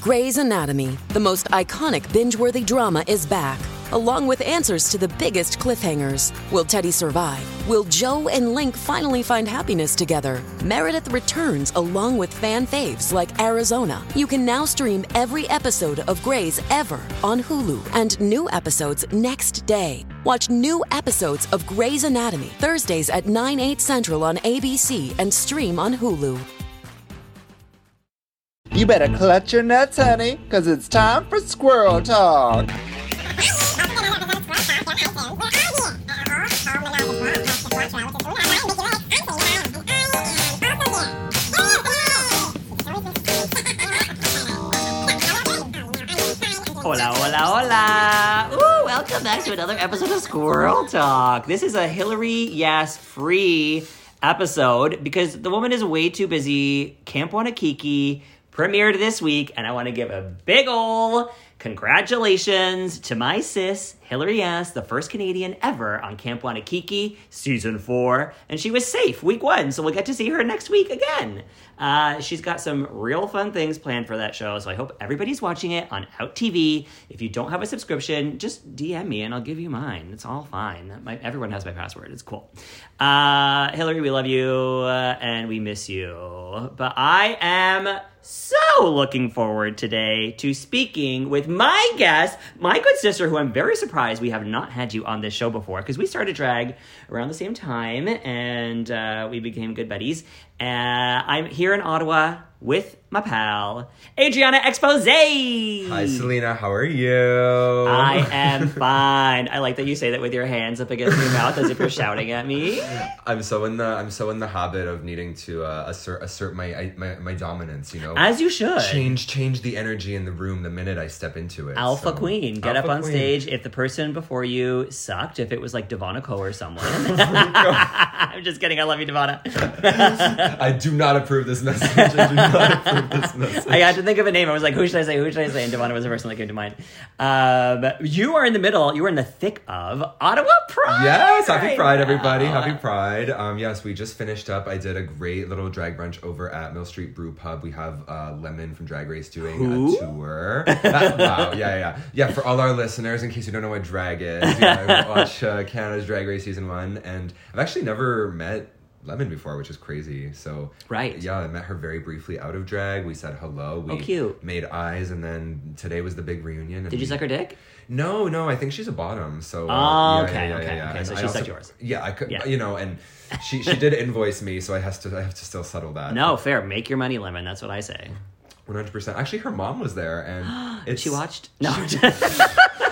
Grey's Anatomy, the most iconic binge worthy drama, is back, along with answers to the biggest cliffhangers. Will Teddy survive? Will Joe and Link finally find happiness together? Meredith returns along with fan faves like Arizona. You can now stream every episode of Grey's ever on Hulu and new episodes next day. Watch new episodes of Grey's Anatomy Thursdays at 9, 8 central on ABC and stream on Hulu. You better clutch your nuts, honey, because it's time for squirrel talk. Hola, hola, hola! Ooh, welcome back to another episode of Squirrel Talk. This is a Hillary Yes free episode because the woman is way too busy. Camp Wanakiki premiered this week, and I want to give a big ol' congratulations to my sis, Hillary Yes, the first Canadian ever on Camp Wanakiki season four. And she was safe week one, so we'll get to see her next week again. Uh, she's got some real fun things planned for that show, so I hope everybody's watching it on Out TV. If you don't have a subscription, just DM me and I'll give you mine. It's all fine. My, everyone has my password. It's cool. Uh, Hillary, we love you uh, and we miss you. But I am so looking forward today to speaking with my guest, my good sister, who I'm very surprised we have not had you on this show before because we started drag around the same time and uh, we became good buddies. Uh, I'm here in Ottawa with my pal, Adriana Expose. Hi, Selena. How are you? I am fine. I like that you say that with your hands up against your mouth as if you're shouting at me. I'm so in the I'm so in the habit of needing to uh, assert assert my, I- my my dominance. You know, As you should. change change the energy in the room the minute I step into it. Alpha so- Queen, get Alpha up on queen. stage. If the person before you sucked, if it was like Devonico or someone, I'm just kidding. I love you, Devana. I do not approve this message. I do not approve this message. I had to think of a name. I was like, who should I say? Who should I say? And Devana was the person that came to mind. Um, you are in the middle. You are in the thick of Ottawa Pride. Yes, happy right Pride, now. everybody. Happy Pride. Um, yes, we just finished up. I did a great little drag brunch over at Mill Street Brew Pub. We have uh, Lemon from Drag Race doing Who? a tour. That- wow, yeah, yeah, yeah. Yeah, for all our listeners, in case you don't know what drag is, you know, watch uh, Canada's Drag Race Season 1. And I've actually never met Lemon before, which is crazy. So, Right. Yeah, I met her very briefly out of drag. We said hello. We Oh, cute. made eyes, and then today was the big reunion. and Did you we- suck her dick? no, no, I think she's a bottom. So uh, Oh, yeah, okay, yeah, yeah, okay, yeah. okay. And So I she also- sucked yours. Yeah, I could, Yeah. you know, and she she did invoice me, so I has to I have to still settle that. No, fair. Make your money, Lemon. That's what I say. one hundred percent. Actually, her mom was there, and it's, She watched? No.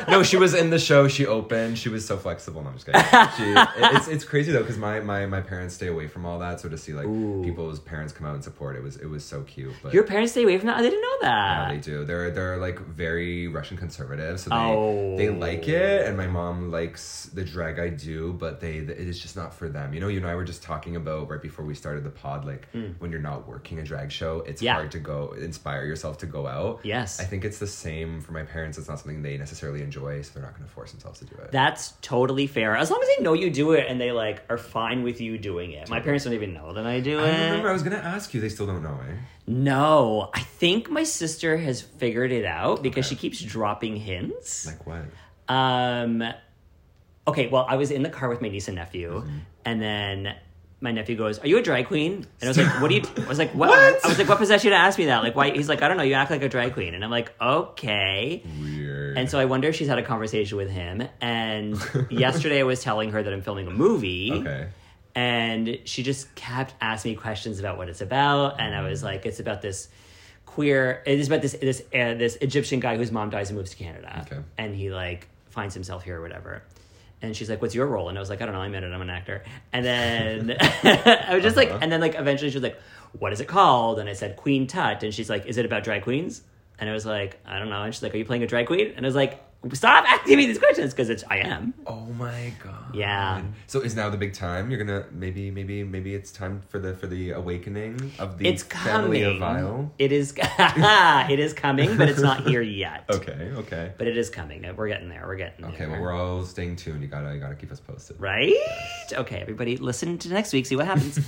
No, she was in the show. She opened. She was so flexible. No, I'm just kidding. She, it- it's it's crazy though, because my, my my parents stay away from all that, so to see like people's parents come out and support it was it was so cute. But Your parents stay away from that? I didn't know Yeah, that. they do. They're they're like very Russian conservative, so they Oh. they like it. And my mom likes the drag I do, but they it is just not for them. You know, you and I were just talking about right before we started the pod, like when you're not working a drag show, it's Hmm. Yeah. hard to go inspire yourself to go out. Yes. I think it's the same for my parents. It's not something they necessarily enjoy, so they're not going to force themselves to do it. That's totally fair. As long as they know you do it and they like are fine with you doing it. My parents don't even know that I do it. I remember I was going to ask you. They still don't know, eh? No, I think my sister has figured it out because she keeps dropping hints. Like what? Um, okay, well, I was in the car with my niece and nephew, Mm-hmm. and then my nephew goes, "Are you a drag queen?" And I was like, "What do you?" I was like, what? What? I was like, "What possessed you to ask me that?" Like, why? He's like, "I don't know. You act like a drag queen," and I'm like, "Okay." Weird. And so I wonder if she's had a conversation with him. And yesterday I was telling her that I'm filming a movie. okay. And she just kept asking me questions about what it's about. And I Mm. was like, it's about this queer, it's about this this uh, this Egyptian guy whose mom dies and moves to Canada. Okay. And he like finds himself here or whatever. And she's like, "What's your role?" And I was like, "I don't know. I'm in it. I'm an actor." And then I was just Uh-huh. like, and then like eventually she was like, "What is it called?" And I said, "Queen Tut." And she's like, "Is it about drag queens?" And I was like, "I don't know." And she's like, "Are you playing a drag queen?" And I was like, "Stop asking me these questions because it's I am." Oh my god. Yeah. So is now the big time? You're gonna maybe maybe maybe it's time for the for the awakening of the It's family of coming. Vile. It is. it is coming, but it's not here yet. Okay, okay. But it is coming. Uh, We're getting there. We're getting there. Okay, well we're all staying tuned. You gotta you gotta keep us posted. Right? Okay, everybody, listen to next week, see what happens.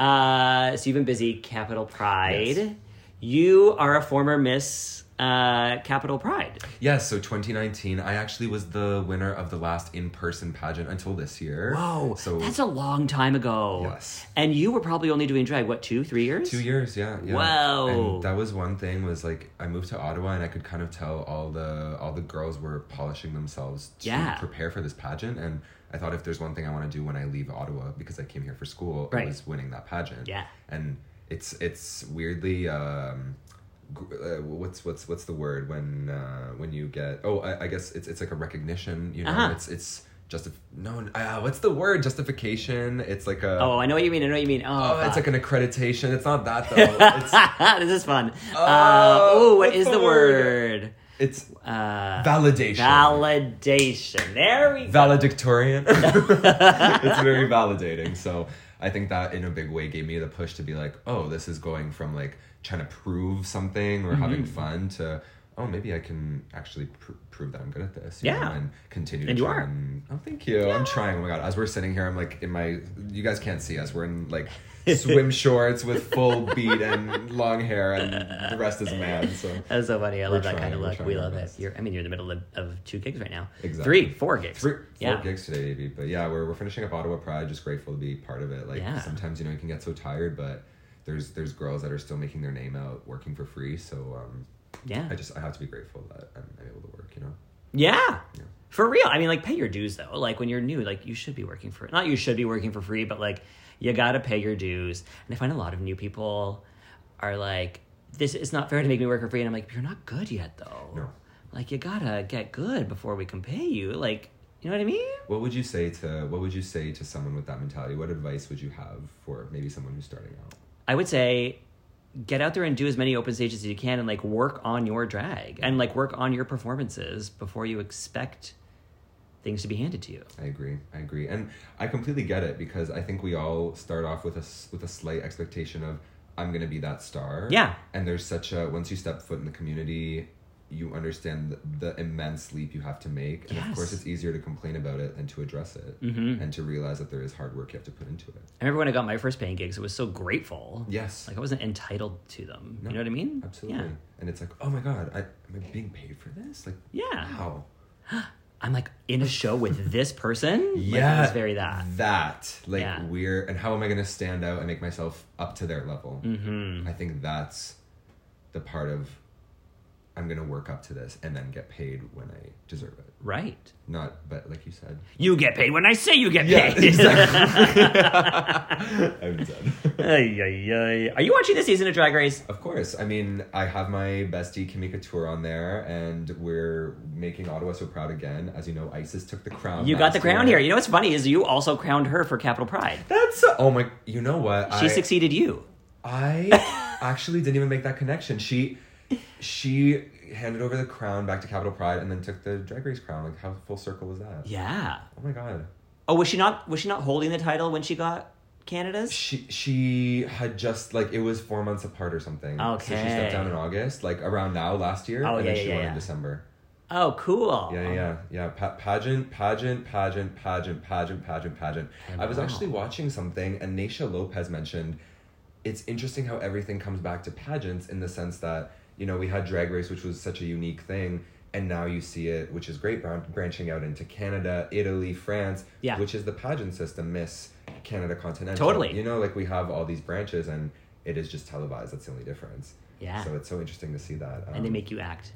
uh, so you've been busy, Capital Pride. you are a former Miss uh, Capital Pride. Yes, so 2019, I actually was the winner of the last in person pageant until this year. Oh, so that's a long time ago. Yes. And you were probably only doing drag, what, two, three years? Two years, yeah, yeah. Wow. And that was one thing was like I moved to Ottawa and I could kind of tell all the all the girls were polishing themselves to Yeah. prepare for this pageant and I thought if there's one thing I want to do when I leave Ottawa because I came here for school, Right. I was winning that pageant. Yeah. And it's it's weirdly um gr- uh, what's what's what's the word when uh, when you get oh I, I guess it's it's like a recognition you know Uh-huh. it's it's just no uh, what's the word justification it's like a Oh, I know what you mean. I know what you mean. Oh, Oh, it's fuck. like an accreditation. It's not that though. this is fun. Oh, uh, Oh, ooh, what what's is the the word? word? It's, it's Uh, validation. Validation. There we go. Valedictorian. it's very validating. So I think that in a big way gave me the push to be like, oh, this is going from like trying to prove something or having Mm-hmm. fun to oh, maybe I can actually pr- prove that I'm good at this. you Yeah. know, and continue. To And you try are. And, oh, thank you. I'm trying. Oh my god. As we're sitting here, I'm like in my. You guys can't see us. We're in like. Swim shorts with full beat and long hair, and the rest is man. So That's so funny. I love that trying, kind of we're look. trying We our love it. best. You're, I mean, you're in the middle of, of two gigs right now. Exactly. Three, four gigs. Three, four yeah. gigs today, AB. But yeah, we're, we're finishing up Ottawa Pride. Just grateful to be part of it. Like Yeah. sometimes you know you can get so tired, but there's there's girls that are still making their name out working for free. So um, Yeah. I just I have to be grateful that I'm able to work. You know. Yeah. For real. I mean, like, pay your dues, though. Like, when you're new, like, you should be working for, not you should be working for free, but like, you gotta pay your dues. And I find a lot of new people are like, this is not fair to make me work for free. And I'm like, you're not good yet, though. No. Like, you gotta get good before we can pay you. Like, you know what I mean? What would you say to What would you say to someone with that mentality? What advice would you have for maybe someone who's starting out? I would say get out there and do as many open stages as you can and like work on your drag and like work on your performances before you expect things to be handed to you. I agree. I agree, and I completely get it because I think we all start off with a s- with a slight expectation of I'm gonna be that star. Yeah. And there's such a once you step foot in the community, you understand the, the immense leap you have to make, and of Yes. Mm-hmm. course it's easier to complain about it than to address it, and to realize that there is hard work you have to put into it. I remember when I got my first paying gigs, I was so grateful. Yes. Like I wasn't entitled to them. You know what I mean? Absolutely. Yeah. And it's like, oh my god, I, am I being paid for this? Like, Yeah. Wow. I'm like in a show with this person. Like, Yeah, it was very that. That like Yeah. we're and how am I going to stand out and make myself up to their level? Mm-hmm. I think that's the part of I'm going to work up to this and then get paid when I deserve it. Right. Not, but like you said, You get paid when I say you get paid. I'm done. Ay, ay, ay. Are you watching this season of Drag Race? of course, I mean I have my bestie Kimika Tour on there, and we're making Ottawa so proud again. As you know, ISIS took the crown. You got the last crown year. here. You know what's funny is you also crowned her for Capital Pride. That's oh my. You know what? She I- succeeded you. I actually didn't even make that connection. She she handed over the crown back to Capital Pride and then took the Drag Race crown. Like how full circle was that? Yeah. Oh my god. Oh, was she not? Was she not holding the title when she got Canada's? She she had just like it was four months apart or something. So she Okay. stepped down in August, like around now last year, Oh, and then yeah, she yeah, won yeah. in December. Oh, cool. Yeah, yeah, yeah, yeah. Pa- pageant, pageant, pageant, pageant, pageant, pageant, pageant. I was Wow. actually watching something, and Naisha Lopez mentioned it's interesting how everything comes back to pageants in the sense that you know we had Drag Race, which was such a unique thing, and now you see it, which is great, bran- branching out into Canada, Italy, France, Yeah. which is the pageant system, Miss Canada Continental. Totally. You know, like we have all these branches, and it is just televised. That's the only difference. Yeah. So it's so interesting to see that. Um, And they make you act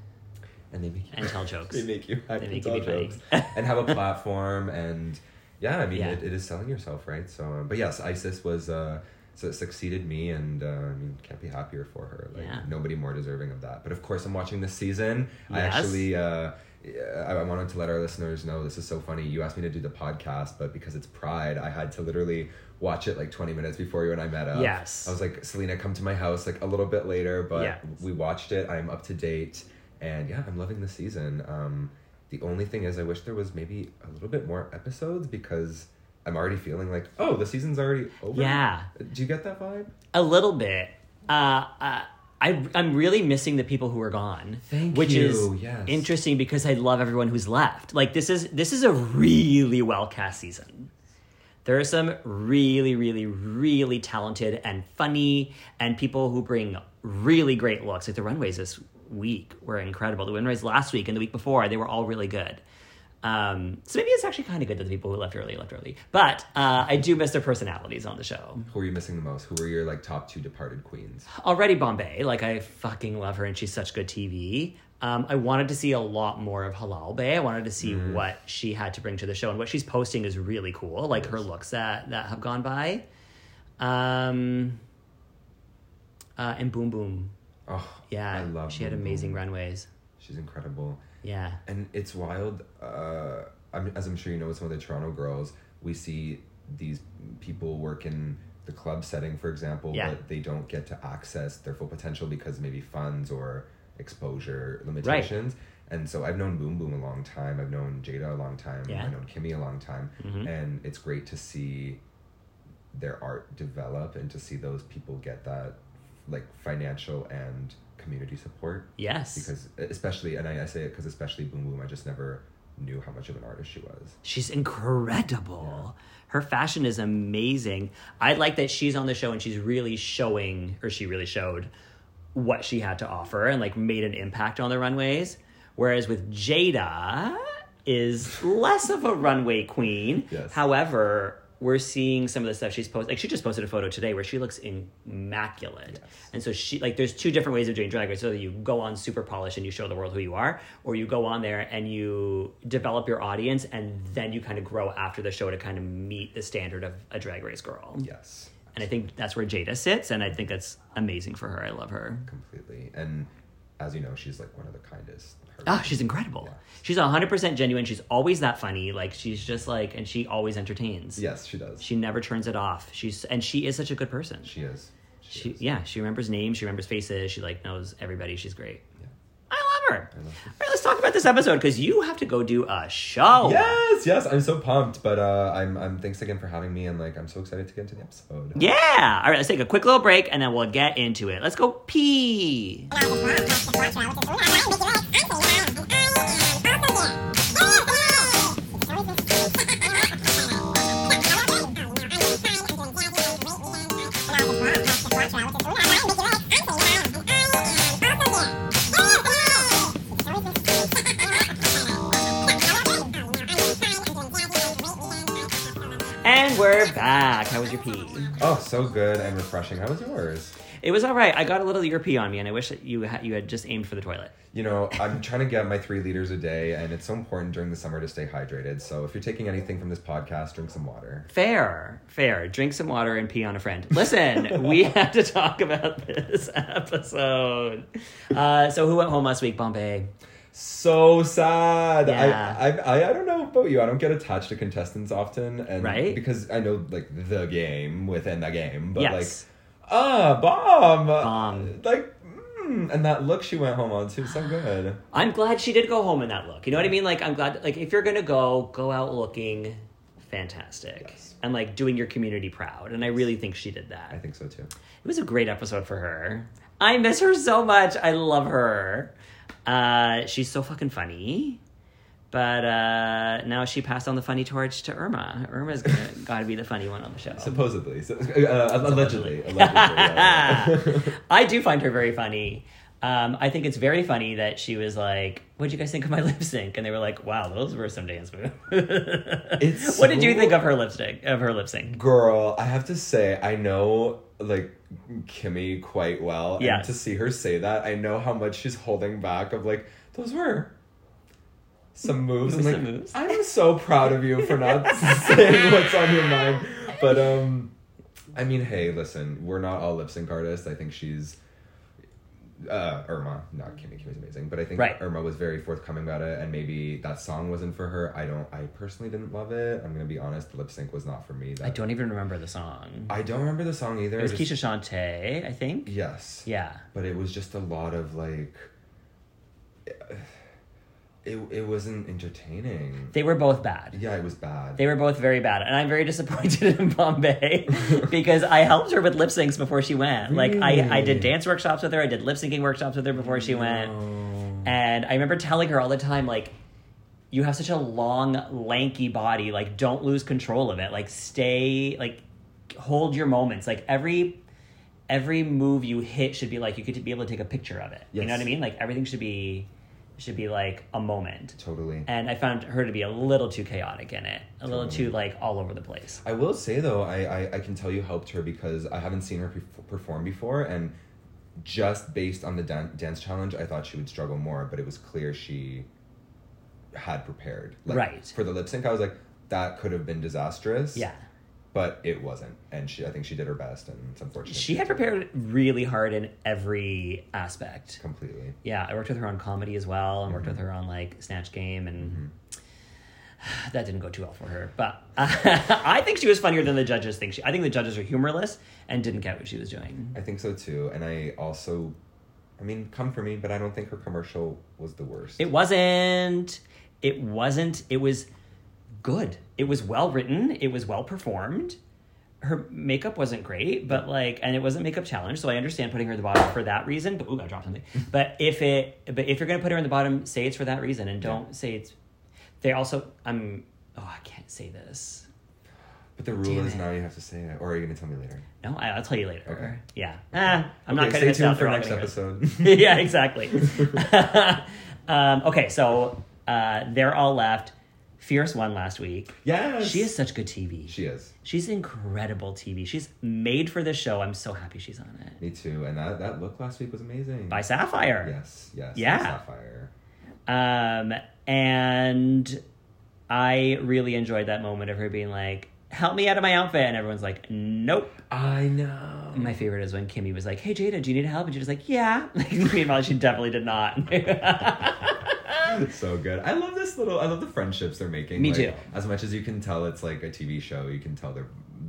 and they make you and tell jokes. they make you hack They and make you tell be funny. jokes and have a platform and yeah i mean Yeah. It, it is selling yourself right so um, but yes isis was uh so succeeded me and uh, i mean can't be happier for her like Yeah. nobody more deserving of that but of course i'm watching this season i Yes. actually uh yeah, I I wanted to let our listeners know this is so funny. You asked me to do the podcast, but because it's Pride, I had to literally watch it like 20 minutes before you and I met up. Yes. I was like, Selena, come to my house like a little bit later, but Yeah. we watched it. I'm up to date, and yeah, I'm loving the season. Um, the only thing is, I wish there was maybe a little bit more episodes because I'm already feeling like, oh, the season's already over. Yeah. Do you get that vibe? A little bit. Uh, uh, I, I'm really missing the people who are gone, Thank which you, is yes. interesting because I love everyone who's left. Like this is this is a really well cast season. There are some really, really, really talented and funny and people who bring really great looks. Like the runways this week were incredible. The runways last week and the week before, they were all really good. Um, so maybe it's actually kind of good that the people who left early left early. But uh, I do miss their personalities on the show. Who were you missing the most? Who were your like top two departed queens? already Bombay. Like I fucking love her, and she's such good TV. Um, I wanted to see a lot more of Halal Bay. I wanted to see Mm. what she had to bring to the show, and what she's posting is really cool. Like her looks that that have gone by, um, uh, and Boom Boom. Oh, Yeah, I love. She had Moon Moon. amazing runways. She's incredible. Yeah, And it's wild. Uh, I'm, as I'm sure you know, with some of the Toronto girls, we see these people work in the club setting, for example, Yeah. but they don't get to access their full potential because maybe funds or exposure limitations. And so I've known Boom Boom a long time. I've known Jada a long time. Yeah. Mm-hmm. I've known Kimmy a long time. And it's great to see their art develop and to see those people get that like financial and community support yes. because especially and I, I say it because especially boom boom i just never knew how much of an artist she was She's incredible. Her fashion is amazing. I like that she's on the show and she's really showing, or she really showed, what she had to offer and like made an impact on the runways. Whereas with Jada is less of a runway queen. Yes. However, we're seeing some of the stuff she's posted. Like she just posted a photo today where she looks immaculate. And so she like there's two different ways of doing drag race. So you go on super polished and you show the world who you are, or you go on there and you develop your audience and then you kind of grow after the show to kind of meet the standard of a drag race girl. yes And I think that's where Jada sits and I think that's amazing for her. I love her. completely and as you know she's like one of the kindest Her- Ah, she's incredible. She's She's 100% genuine. She's always that funny. Like she's just like and she always entertains. yes she does she, She never turns it off. She's and she is such a good person. is she, She, e is yeah, she remembers names, she remembers faces, she like knows everybody. She's great. Yeah. I love her. All right, let's talk about this episode because you have to go do a show. yes yes i'm so pumped but uh i'm i'm thanks again for having me and like i'm so excited to get into the episode Yeah. All right, let's take a quick little break and then we'll get into it. Let's go pee. Thank you. And we're back. How was your pee? oh so good and refreshing how was yours It was all right. I got a little of your pee on me, and I wish that you had, you had just aimed for the toilet. you know i'm trying to get my three liters a day and it's so important during the summer to stay hydrated so if you're taking anything from this podcast drink some water Fair, fair. Drink some water and pee on a friend. Listen, we have to talk about this episode. Uh, so, who went home last week? Bombay. so sad. Yeah. I, I I I don't know about you. I don't get attached to contestants often, and Right? because I know like the game within the game, but Yes. like ah bomb Bomb. like. Mm, and that look she went home on too, so good. I'm glad she did go home in that look. You know what I mean? Like, I'm glad. Like, if you're gonna go, go out looking fantastic Yes. and like doing your community proud. And I really think she did that. I think so too. It was a great episode for her. I miss her so much. I love her. Uh, she's so fucking funny. But uh, now she passed on the funny torch to Irma. Irma's gonna, gotta be the funny one on the show. Supposedly, so, uh, allegedly, allegedly. yeah, yeah. I do find her very funny. Um, I think it's very funny that she was like, "What would you guys think of my lip sync?" And they were like, "Wow, those were some dance moves." It's what did you so- think of her lipstick? Of her lip sync? Girl, I have to say, I know like Kimmy quite well. Yeah. And to see her say that, I know how much she's holding back of like, those were some moves. I'm Some like, moves. I'm so proud of you for not saying what's on your mind. But um I mean, hey, listen, we're not all lip sync artists. I think she's uh Irma, not Kimmy. Kimmy's amazing, but I think Right. Irma was very forthcoming about it, and maybe that song wasn't for her. I don't. I personally didn't love it. I'm gonna be honest. The lip sync was not for me. That I don't even remember the song. I don't remember the song either. It was I just- Keisha Shante, I think. Yes. Yeah. But it was just a lot of like. It it wasn't entertaining. They were both bad. Yeah, it was bad. They were both very bad, and I'm very disappointed in Bombay because I helped her with lip syncs before she went. Like I, I did dance workshops with her, I did lip syncing workshops with her before she went, and I remember telling her all the time, like, you have such a long, lanky body. Like, don't lose control of it. Like, stay, like, hold your moments. Like, every. Every move you hit should be like you could be able to take a picture of it. You know Yes. what I mean? Like everything should be should be like a moment. Totally. And I found her to be a little too chaotic in it. A little too like all over the place. I will say though, I, I I can tell you helped her because I haven't seen her perf- perform before, and just based on the dan- dance challenge, I thought she would struggle more. But it was clear she had prepared. Like, Right. for the lip sync, I was like, that could have been disastrous. Yeah. but it wasn't, and she I think she did her best, and it's unfortunate. She had prepared really hard in every aspect. completely. Yeah, I worked with her on comedy as well, and worked with her on like Snatch Game, and that didn't go too well for her. But I think she was funnier than the judges think. She, I think the judges are humorless and didn't get what she was doing. I think so too, and I also, I mean, come for me, but I don't think her commercial was the worst. It wasn't. It wasn't. It was good. It was well written. It was well performed. Her makeup wasn't great, but like, and it wasn't makeup challenge, so I understand putting her at the bottom for that reason. But ooh, I dropped something. But if it, but if you're gonna put her in the bottom, say it's for that reason, and don't say it's. They also, I'm. Oh, I can't say this. but the rule is it. now you have to say it, or are you going to tell me later? No, I, I'll tell you later. Okay. Yeah. Ah, I'm not Okay, cutting this stay out. tuned for They're not next gonna hear this. episode. yeah, exactly. um, okay, so uh, they're all left. Fierce won last week. yes, She is such good TV. She is. She's incredible TV. She's made for this show. I'm so happy she's on it. Me too. And that, that look last week was amazing. By Sapphire. Yes, yes. Yeah. by Sapphire. Um, and I really enjoyed that moment of her being like, help me out of my outfit. And everyone's like, nope. I know. My favorite is when Kimmy was like, hey, Jada, do you need help? And she was like, yeah. Meanwhile, she definitely did not. It's so good. I love this little. I love the friendships they're making. Me Like, too. As much as you can tell, it's like a TV show. You can tell their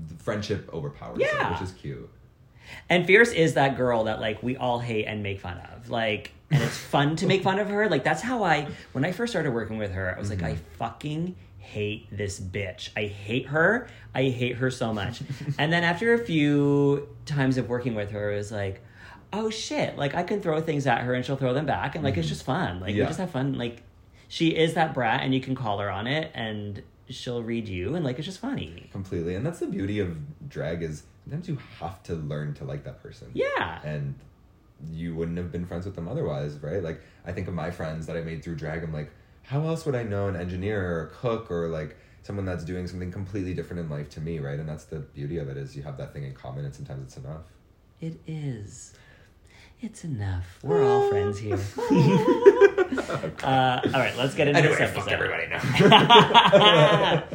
the friendship overpowers Yeah. it, which is cute. And Fierce is that girl that like we all hate and make fun of. Like and it's fun to make fun of her. Like that's how I when I first started working with her, I was like I fucking hate this bitch. I hate her. I hate her so much. and then after a few times of working with her, it was like oh shit, like I can throw things at her and she'll throw them back and like it's just fun. Like we Yeah. just have fun like she is that brat and you can call her on it and she'll read you and like it's just funny. Completely. And that's the beauty of drag is sometimes you have to learn to like that person. Yeah. And you wouldn't have been friends with them otherwise, right? Like I think of my friends that I made through drag, I'm like, how else would I know an engineer or a cook or like someone that's doing something completely different in life to me, right? And that's the beauty of it is you have that thing in common and sometimes it's enough. It is. It's enough. We're all friends here. uh, all right, let's get into Anyway, this fuck episode. everybody now.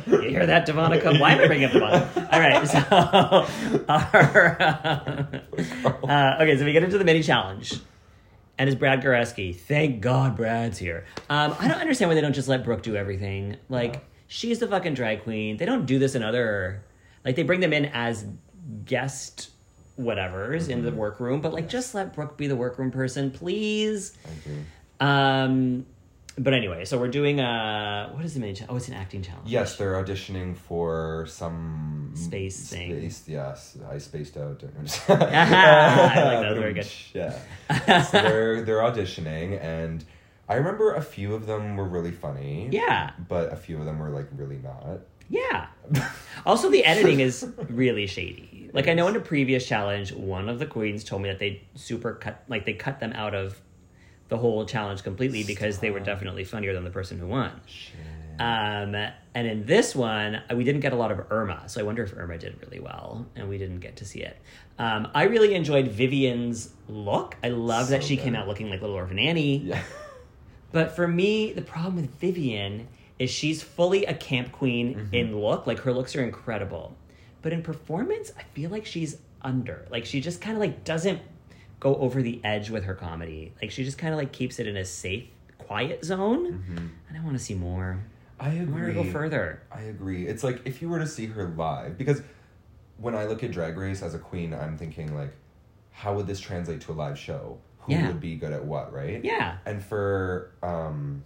you hear that, Devonica? Why am I bringing up Devonica? All right, so our, uh, okay, so we get into the mini challenge, and it's Brad Goreski. Thank God Brad's here. Um, I don't understand why they don't just let Brooke do everything. Like she's the fucking drag queen. They don't do this in other. Like they bring them in as guest whatever's in the workroom, but like just let Brooke be the workroom person, please. Mm-hmm. Um, but anyway, so we're doing a what is the main? Cha- oh, it's an acting challenge. Yes, they're auditioning for some Space thing. Space, yes, I spaced out. I I like that, very good. Yeah, so they're they're auditioning, and I remember a few of them were really funny. Yeah. but a few of them were like really not. Yeah. also, the editing is really shady. Like I know in a previous challenge, one of the queens told me that they super cut, like they cut them out of the whole challenge completely because they were definitely funnier than the person who won. Um, and in this one, uh, we didn't get a lot of Irma, so I wonder if Irma did really well, and we didn't get to see it. Um, I really enjoyed Vivian's look. I love that she came out looking like Little Orphan Annie. Yeah, But for me, the problem with Vivian is she's fully a camp queen Mm-hmm. in look. Like her looks are incredible. But in performance, I feel like she's under. Like she just kind of like doesn't go over the edge with her comedy. Like she just kind of like keeps it in a safe, quiet zone. Mm-hmm. And I want to see more. I I want agree. her to go further. I agree. It's like if you were to see her live, because when I look at Drag Race as a queen, I'm thinking like, how would this translate to a live show? Who Yeah. would be good at what? Right? Yeah. And for um,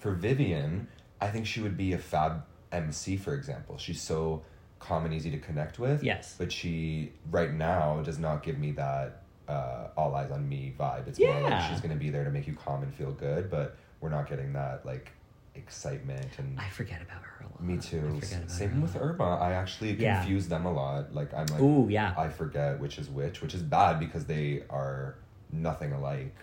for Vivian, I think she would be a fab MC, for example. She's so calm and easy to connect with. Yes. But she right now does not give me that uh, all eyes on me vibe. It's more Yeah. like she's gonna be there to make you calm and feel good, but we're not getting that like excitement and I forget about her a lot. me too. I forget about her. Same with Irma. I actually Yeah. confuse them a lot. Like I'm like, Ooh, yeah. I forget which is which, which is bad because they are nothing alike.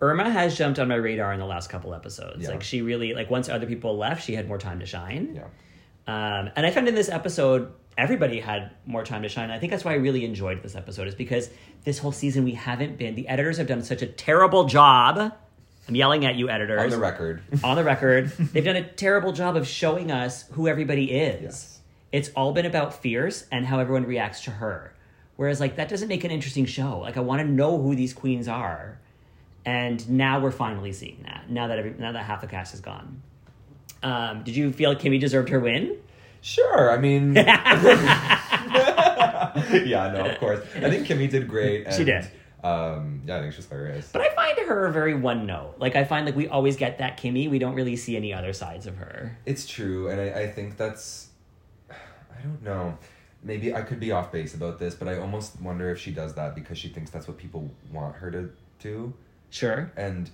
Irma has jumped on my radar in the last couple episodes. Yeah. Like she really like once other people left, she had more time to shine. Yeah, Um, and I found in this episode, everybody had more time to shine. I think that's why I really enjoyed this episode, is because this whole season we haven't been, the editors have done such a terrible job. I'm yelling at you, editors. on the record. On the record. They've done a terrible job of showing us who everybody is. Yes. It's all been about Fierce and how everyone reacts to her. Whereas, like, that doesn't make an interesting show. Like, I want to know who these queens are. And now we're finally seeing that. Now that every, now that half the cast is gone, um, did you feel Kimmy deserved her win? Sure. I mean, yeah, no, of course. I think Kimmy did great. And, She did. Um, yeah, I think she's hilarious. But I find her very one note. Like I find like we always get that Kimmy. We don't really see any other sides of her. It's true, and I, I think that's. I don't know. Maybe I could be off base about this, but I almost wonder if she does that because she thinks that's what people want her to do. Sure. And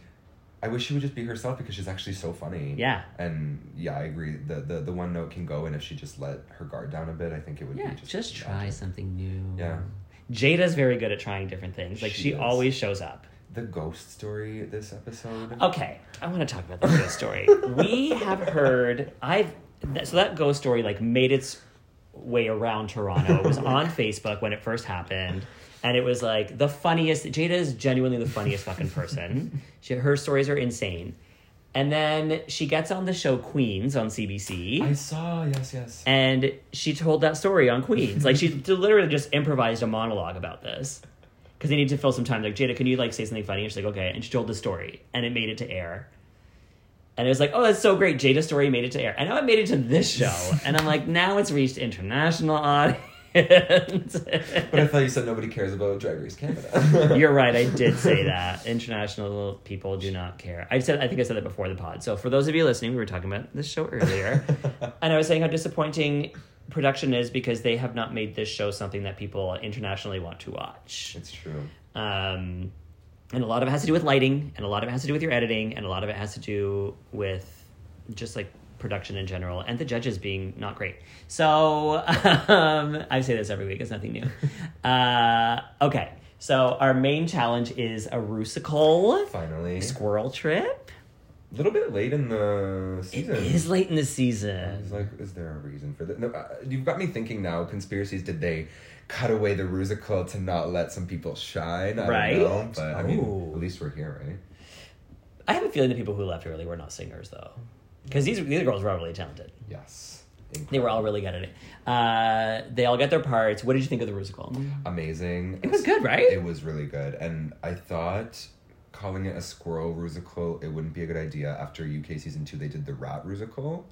I wish she would just be herself because she's actually so funny. Yeah. And yeah, I agree. The the, the one note can go, and if she just let her guard down a bit, I think it would Yeah. be Just, just. try something new. Yeah. Jada's very good at trying different things. Like she, She is. always shows up. The ghost story this episode. Okay, I want to talk about this ghost story. we have heard I've that, so that ghost story like made its way around Toronto. It was on Facebook when it first happened, and it was like the funniest. Jada is genuinely the funniest fucking person. She, her stories are insane, and then she gets on the show Queens on CBC I saw. Yes, yes. and she told that story on Queens. Like she d- literally just improvised a monologue about this because they need to fill some time. Like Jada, can you like say something funny? And she's like, okay. And she told the story, and it made it to air. And it was like, oh, that's so great. Jada's story made it to air, and now it made it to this show. And I'm like, now it's reached international audience. But I thought you said nobody cares about Drag Race Canada. You're right. I did say that. International people do not care. I said. I think I said that before the pod. So for those of you listening, we were talking about this show earlier, and I was saying how disappointing production is because they have not made this show something that people internationally want to watch. it's true. Um, and a lot of it has to do with lighting, and a lot of it has to do with your editing, and a lot of it has to do with just like production in general, and the judges being not great. So um, I say this every week; it's nothing new. uh, okay, so our main challenge is a rusical Finally, a squirrel trip. little bit late in the It season. is late in the It's season. like, is there a reason for that? No, uh, you've got me thinking now. Conspiracies? Did they cut away the rusical to not let some people shine? I Right? Oh. Don't know, but I mean, Ooh. at least we're here, right? I have a feeling the people who left early were not singers, though, because these these girls were all really talented. Yes. They were all really good at it. Uh, they all got their parts. What did you think of the Mm, rusical? amazing. It was good, right? It was really good, and I thought calling it a squirrel rusical it wouldn't be a good idea. After UK season two, they did the rat rusical,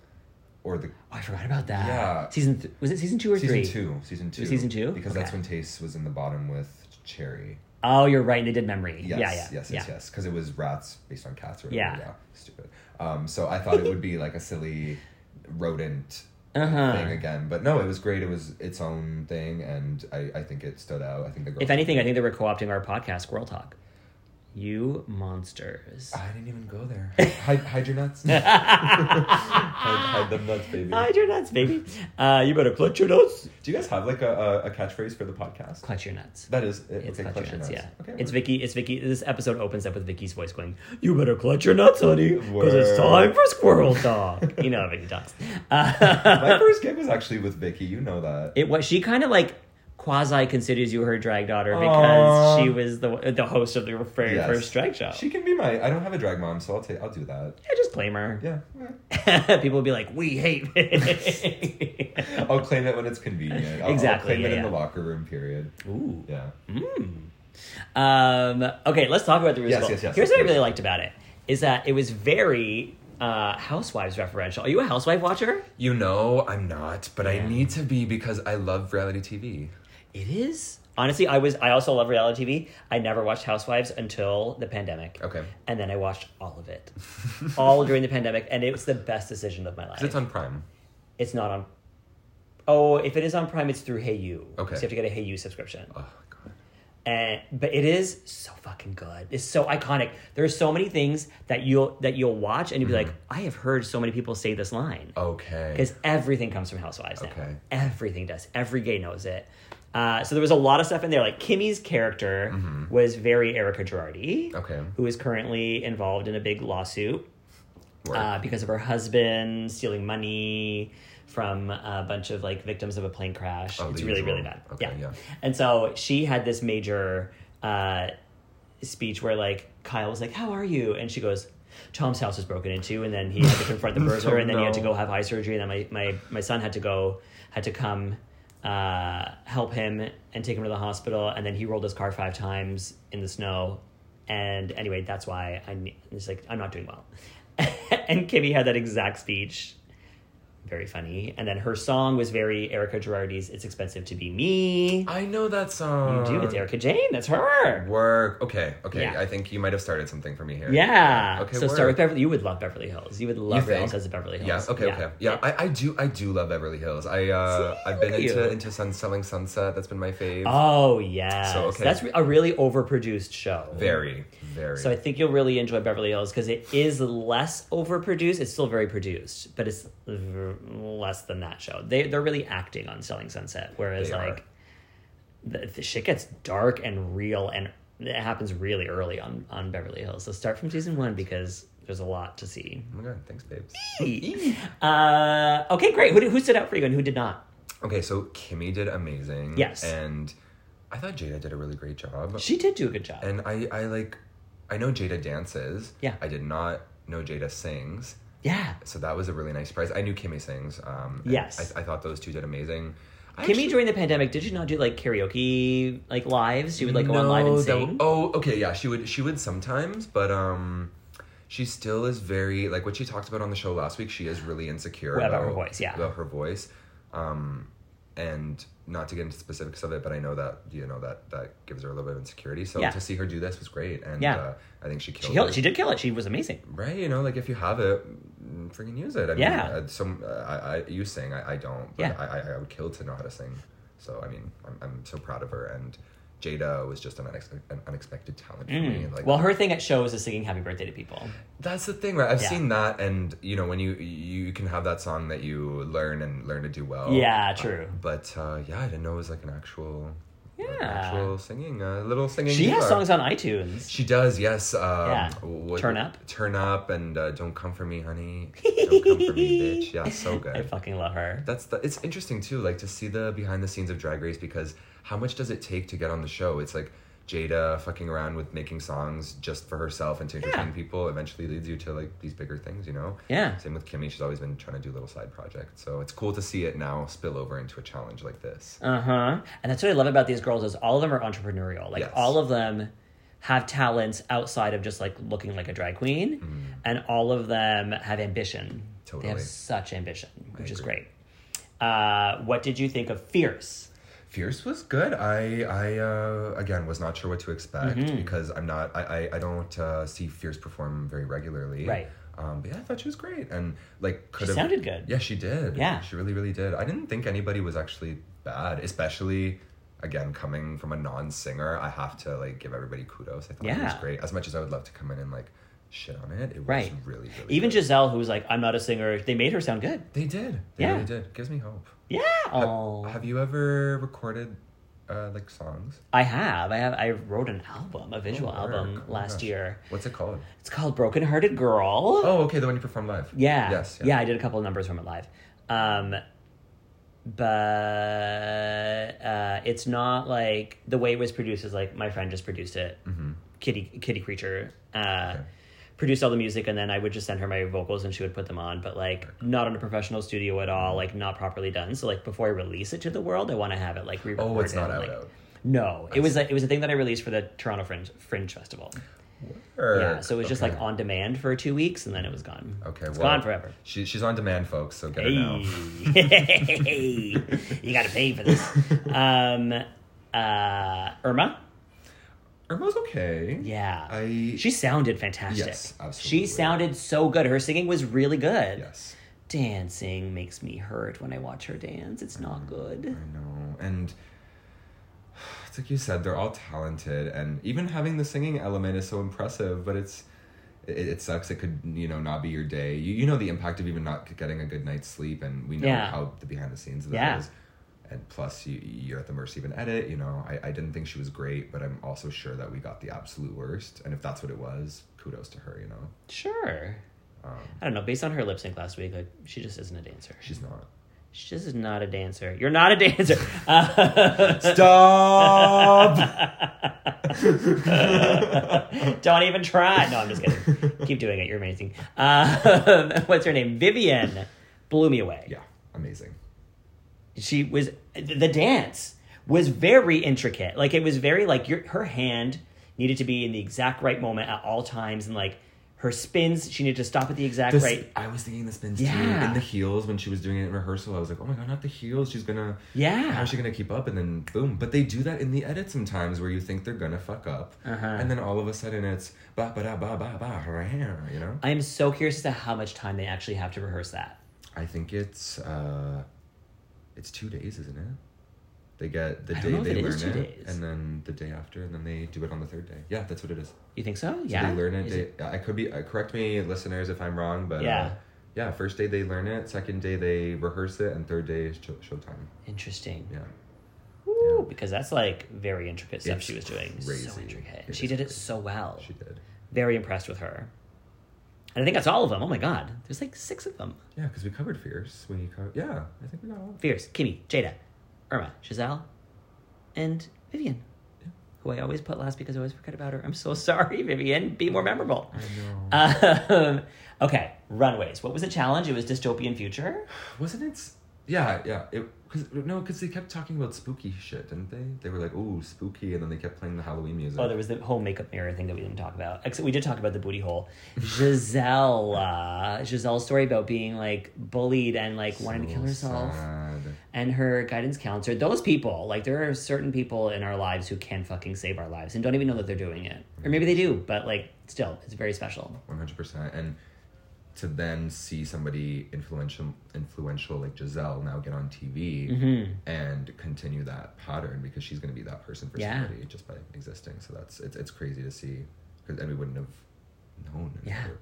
or the Oh, I forgot about that. Yeah. Season th- was it season two or season three? two, season two, Season two? because that's Okay. when Taste was in the bottom with Cherry. Oh, you're right. They did memory. Yes, yeah, yeah, yes, yes, yeah. yes. Because it was rats based on cats or Yeah. whatever. Yeah. Stupid. Um, so I thought it would be like a silly rodent Uh-huh. thing again. But no, it was great. It was its own thing and I, I think it stood out. I think the girl If anything, I think they were co-opting our podcast, Squirrel Talk. You monsters. I didn't even go there. hide, hide your nuts. hide, hide them nuts, baby. Hide your nuts, baby. Uh, you better clutch your nuts. Do you guys have like a, a, a catchphrase for the podcast? Clutch your nuts. that is it. It's okay, clutch, your nuts, yeah. Okay, it's we're- Vicky. It's Vicky. This episode opens up with Vicky's voice going, "You better clutch your nuts, honey, because it's Word. time for Squirrel Talk." you know how Vicky talks. Uh, My first gig was actually with Vicky. You know that. it was she kind of like quasi considers you her drag daughter because Aw. she was the the host of the very Yes. first drag show. She can be my. I don't have a drag mom, so I'll take. I'll do that. I just blame her. Yeah. People will be like, "We hate." I'll claim it when it's convenient. I'll, Exactly, I'll claim yeah, it in yeah. Mm-hmm. the locker room. Period. Ooh. Yeah. Um, okay, let's talk about the Yes, musical. yes, yes, Here's of what I course. really liked about it is that it was very uh, housewives referential. Are you a housewife watcher? You know I'm not, but I need to be because I love reality TV. It is. Honestly, I was. I also love reality TV. I never watched Housewives until the pandemic. Okay. And then I watched all of it, all during the pandemic, and it was the best decision of my life. It's on Prime. It's not on. Oh, if it is on Prime, it's through Hey You. Okay. So you have to get a Hey You subscription. Oh my god. And, but it is so fucking good. It's so iconic. There's so many things that you'll that you'll watch and you'll be Mm-hmm. like, I have heard so many people say this line. Okay. Because everything comes from Housewives now. Oh. Okay. Everything does. Every gay knows it. Uh, so there was a lot of stuff in there. Like Kimmy's character was very Erica Girardi, Mm-hmm. Okay. who is currently involved in a big lawsuit Word. uh, because of her husband stealing money from a bunch of like victims of a plane crash. Oh, it's the really usual. really bad. Okay, yeah. And so she had this major uh, speech where like Kyle was like, "How are you?" and she goes. Tom's house was broken into, and then he had to confront the burglar, and then he had to no. go have eye surgery, and then my, my, my son had to go had to come uh, help him and take him to the hospital, and then he rolled his car five times in the snow, and anyway, that's why I'm it's like I'm not doing well. and Kimmy had that exact speech, very funny, and then her song was very Erica Girardi's "It's Expensive to Be Me." I know that song. You do it's Erica Jane, that's her. Work. Okay. Okay. Yeah. I think you might have started something for me here. Yeah. Okay. so work. start with Beverly. You would love Beverly Hills. You would You love Real think? as a Beverly Hills. Yeah. Okay. Okay. Yeah. I, I do. I do love Beverly Hills. I uh, See, I've been look at into you. into Sun Selling Sunset. That's been my fave. Oh yeah. So, okay. That's a really overproduced show. very. Very. So I think you'll really enjoy Beverly Hills because it is less overproduced. It's still very produced, but it's v- less than that show. They they're really acting on Selling Sunset, whereas They are. like the, the shit gets dark and real, and it happens really early on on Beverly Hills. So start from season one because there's a lot to see. oh my god. Thanks, babes. Uh, okay, great. Who, did- who stood out for you and who did not? Okay. So Kimmy did amazing. Yes. And I thought Jada did a really great job. She did do a good job. Oh. and I I like I know Jada dances. Yeah. I did not know Jada sings. yeah. So that was a really nice surprise. I knew Kimmy sings. Um, and Yes. I, I thought those two did amazing. I Kimmy actually- during the pandemic, did she not do like karaoke like lives? She would like go on live and that sing. w- oh, okay, yeah, she would. She would sometimes, but um, she still is very like what she talked about on the show last week. She is really insecure About her voice, yeah. about her voice. Um, and not to get into specifics of it, but I know that you know that that gives her a little bit of insecurity. So Yeah. to see her do this was great, and Yeah. uh, I think she killed. She killed, it. she did kill it. She was amazing. Right, you know, like if you have it, mm, freaking use it. I mean, Yeah. uh, some uh, I, I you sing, I, I don't. But Yeah. I, I I would kill to know how to sing. So I mean, I'm, I'm so proud of her. And Jada was just an, unex- an unexpected talent for me. Mm, Like, Well, her thing at shows is singing "Happy Birthday" to people. that's the thing, right? I've Yeah. seen that, and you know, when you you can have that song that you learn and learn to do well. Yeah, true. But uh, yeah, I didn't know it was like an actual, like, an Yeah. actual singing, a little singing. She has diva. songs on iTunes. She does, yes. Um, Yeah. what- Turn Up. Turn up and uh, don't come for me, honey. Don't come for me, bitch. Yeah, so I good. fucking love her. That's the, it's interesting too, like to see the behind the scenes of Drag Race because how much does it take to get on the show? It's like Jada fucking around with making songs just for herself and to entertain Yeah. people eventually leads you to like these bigger things, you know? Yeah. Same with Kimmy. She's always been trying to do little side projects. So it's cool to see it now spill over into a challenge like this. Uh huh. And that's what I love about these girls is all of them are entrepreneurial. Like Yes. all of them have talents outside of just like looking like a drag queen, and all of them have ambition. They Mm. Totally. have such ambition, which is great. Uh, what did you think of Fierce? Fierce was good. I I uh, again was not sure what to expect Mm-hmm. because I'm not I I, I don't uh, see Fierce perform very regularly. Right. Um, but yeah, I thought she was great and like could She have sounded good. Yeah, she did. Yeah. she really really did. I didn't think anybody was actually bad, especially again coming from a non-singer. I have to like give everybody kudos. I thought it was Yeah. great. As much as I would love to come in and like shit on it, it was Right. really really Even good. Giselle, who was like, "I'm not a singer," they made her sound good. they did. They Yeah. really did. Gives me hope. Yeah. Oh, Have you ever recorded uh, like songs? I have. I have. I wrote an album, a visual Work. album Oh my last gosh. year. What's it called? It's called Broken Hearted Girl. Oh, okay, the one you performed live. Yeah. Yes. Yeah. I did a couple of numbers from it live. Um, but uh, it's not like the way it was produced is like my friend just produced it. Mm-hmm. Kitty Kitty Creature uh, produced all the music, and then I would just send her my vocals, and she would put them on. But like not in a professional studio at all, like not properly done. So like before I release it to the world, I want to have it like re-recorded. Oh, it's not out. like- out. No, it was a, it was a thing that I released for the Toronto Fringe Fringe Festival. Yeah, so it was just like on demand for two weeks, and then it was gone. Okay, it's well, gone forever. She, she's on demand, folks. So get her now. Hey, you got to pay for this. Um, uh, Irma, Irma's okay. yeah, I- she sounded fantastic. Yes, She absolutely. sounded so good. Her singing was really good. Yes. Dancing Mm-hmm. makes me hurt when I watch her dance. It's not good. I know. And it's like you said, they're all talented, and even having the singing element is so impressive. But it's it, it sucks. It could you know not be your day. You, you know the impact of even not getting a good night's sleep, and we know Yeah. how the behind the scenes of that Yeah. is. And plus, you you're at the mercy of an edit. You know, I, I didn't think she was great, but I'm also sure that we got the absolute worst. And if that's what it was, kudos to her. You know, Sure. Um, I don't know. Based on her lip sync last week, like she just isn't a dancer. she's not. She just is not a dancer. You're not a dancer. Uh, Stop. don't even try. No, I'm just kidding. Keep doing it. You're amazing. Um, what's her name? Vivian blew me away. yeah, amazing. she was the dance was very intricate like it was very like your her hand needed to be in the exact right moment at all times and like her spins she needed to stop at the exact This- right I was thinking the spins too. Yeah. And the heels when she was doing it in rehearsal, I was like, oh my god, not the heels. She's gonna Yeah. How's she gonna keep up? And then boom. But they do that in the edit sometimes where you think they're gonna fuck up, Uh-huh. and then all of a sudden it's ba ba da ba ba ba right here. You know. i am so curious as to how much time they actually have to rehearse that I think it's uh, it's two days, isn't it? They get the I day don't know if they it learn is it, two days. and then the day after, and then they do it on the third day. Yeah, that's what it is. you think so So yeah They learn it. Is They, I could be. Uh, correct me, listeners, if I'm wrong, but Yeah. Uh, yeah. First day they learn it. Second day they rehearse it, and third day is show, showtime. interesting Yeah. Woo, because that's like very intricate stuff It's she was doing so crazy. intricate It she is did it so well She did. very impressed with her and i think that's all of them oh my god there's like six of them Yeah, because we covered fierce. We covered. Yeah, I think we got all. Of it. Fierce, Kimmy, Jada, Irma, Giselle, and Vivian, who I always put last because I always forget about her. I'm so sorry, Vivian. Be more memorable. I know. Um, okay, runways. What was the challenge? It was dystopian future. Wasn't it? s- Yeah, yeah. It because no, because they kept talking about spooky shit, didn't they? They were like, "Ooh, spooky," and then they kept playing the Halloween music. Oh, there was the whole makeup mirror thing that we didn't talk about. Except we did talk about the booty hole. Giselle, uh, Giselle's story about being like bullied and like wanting to So kill herself. sad. and her guidance counselor, those people, like there are certain people in our lives who can fucking save our lives and don't even know that they're doing it. Or maybe they do, but like still, it's very special. One hundred percent. And to then see somebody influential, influential like Giselle now get on TV Mm-hmm. and continue that pattern because she's going to be that person for Yeah. somebody just by existing. So that's it's it's crazy to see because and we wouldn't have known. if Yeah. we were-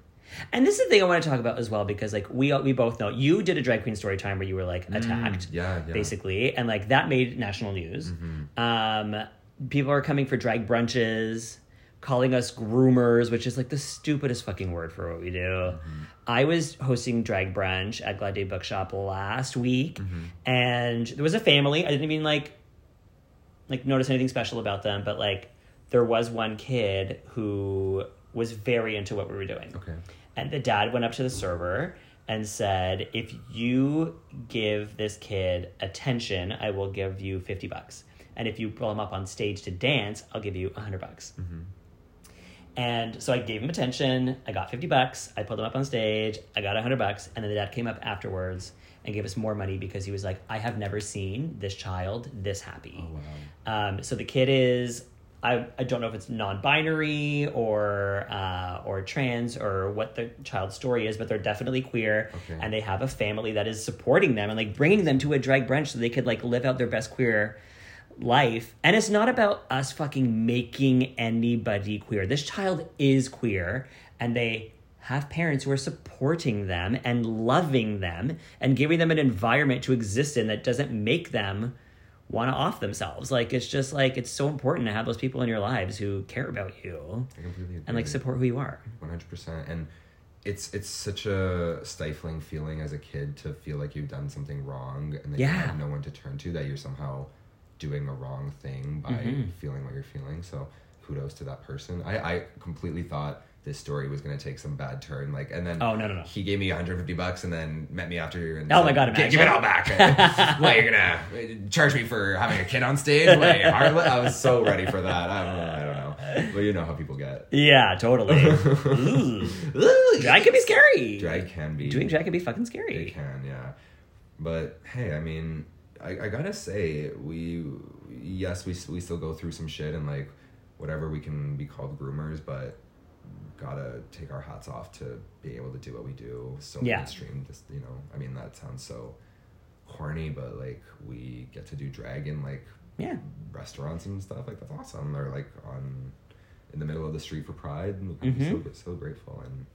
And this is the thing I want to talk about as well because like we we both know you did a drag queen story time where you were like attacked. Mm, yeah, Mm-hmm. yeah. Basically. And like that made national news. Um people are coming for drag brunches, calling us groomers, which is like the stupidest fucking word for what we do. Mm-hmm. I was hosting drag brunch at Glade Bookshop last week Mm-hmm. and there was a family. I didn't even like like notice anything special about them, but like there was one kid who was very into what we were doing. Okay. And the dad went up to the server and said, "If you give this kid attention, I will give you 50 bucks. And if you pull him up on stage to dance, I'll give you 100 bucks." Mm-hmm. And so I gave him attention. I got 50 bucks. I pulled him up on stage. I got 100 bucks. And then the dad came up afterwards and gave us more money because he was like, I have never seen this child this happy. Oh, Wow. Um, so the kid is I, I don't know if it's non-binary or uh, or trans or what the child's story is, but they're definitely queer, Okay. and they have a family that is supporting them and like bringing them to a drag brunch so they could like live out their best queer life. And it's not about us fucking making anybody queer. This child is queer, and they have parents who are supporting them and loving them and giving them an environment to exist in that doesn't make them want to off themselves. Like it's just like it's so important to have those people in your lives who care about you I completely agree. and like support who you are. One hundred percent, and it's it's such a stifling feeling as a kid to feel like you've done something wrong and that you Yeah. have no one to turn to, that you're somehow doing a wrong thing by Mm-hmm. feeling what you're feeling. So kudos to that person. I, I completely thought this story was gonna take some bad turn, like, and then Oh, no, no, no. he gave me 150 bucks and then met me after. And Oh said, my God, "Gi- imagine. give it all back! what you're gonna uh, charge me for having a kid on stage? Wait, Harlan? I was so ready for that. I don't, know, I don't know, but you know how people get. Yeah, totally. Ooh. Ooh, drag can be scary. Drag can be Doing drag can be fucking They scary. can, yeah. But hey, I mean, I, I gotta say, we yes, we s- we still go through some shit and like whatever we can be called groomers, but gotta take our hats off to being able to do what we do. So Yeah. mainstream, just you know. I mean, that sounds so corny, but like we get to do drag in like Yeah. restaurants and stuff. Like that's awesome. Or like on in the middle of the street for Pride. And I'm Mm-hmm. so, so grateful and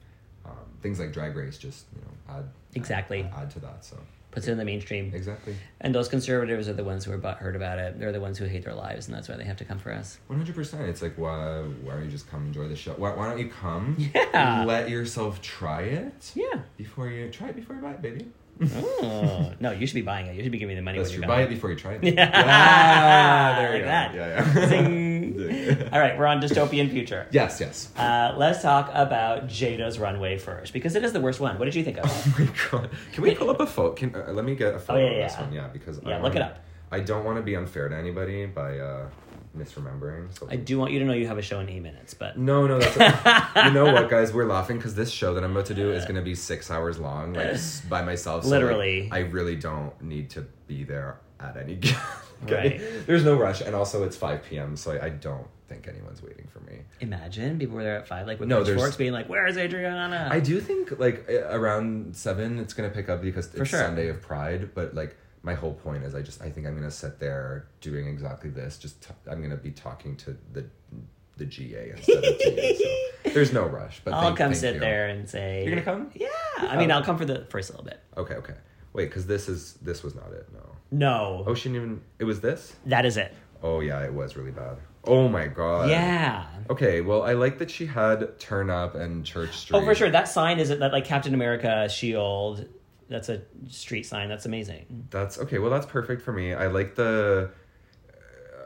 um, things like Drag Race just you know add Exactly. add, add to that. So Puts it in the mainstream. exactly, And those conservatives are the ones who are butthurt about it. They're the ones who hate their lives, and that's why they have to come for us. one hundred percent. It's like why why don't you just come enjoy the show? Why, why don't you come? Yeah. Let yourself try it. Yeah. Before you try it before you buy it, baby. Oh. no, you should be buying it. You should be giving me the money. That's when true. you're Buy it buying before you try it. Yeah. there Like you go. that. Yeah, yeah. it. All right, we're on dystopian future. yes, yes. Uh, let's talk about Jada's runway first because it is the worst one. What did you think of? Oh my god! Can we pull up a photo? Can uh, let me get a photo Oh, yeah, of this yeah. one? Yeah, because Yeah, I look it wanna- up. I don't want to be unfair to anybody by uh, misremembering. So I do want you to know you have a show in eight minutes, but no, no, that's you know what, guys? We're laughing because this show that I'm about to do is going to be six hours long, like s- by myself. So, like, Literally. I really don't need to be there at any. g- Right. There's no rush, and also it's five p.m., so I, I don't think anyone's waiting for me. imagine people were there at five, like with No, there's- pitchforks, being like, "Where's Adriana?" I do think like a- around seven, it's gonna pick up because it's sure. Sunday of Pride. But like my whole point is, I just I think I'm gonna sit there doing exactly this. Just t- I'm gonna be talking to the the GA instead of GA. So there's no rush. But I'll thank- come thank sit you. there and say, You're gonna come? Oh. Yeah, I mean, I'll come for the first little bit. Okay, okay. Wait, because this is this was not it. No. No, Oh, she didn't even. It was this. that is it. Oh yeah, it was really bad. Oh my god. Yeah. Okay, well, I like that she had turn up and Church Street. Oh, for sure. That sign is that like Captain America shield. That's a street sign. That's amazing. That's okay. Well, that's perfect for me. I like the.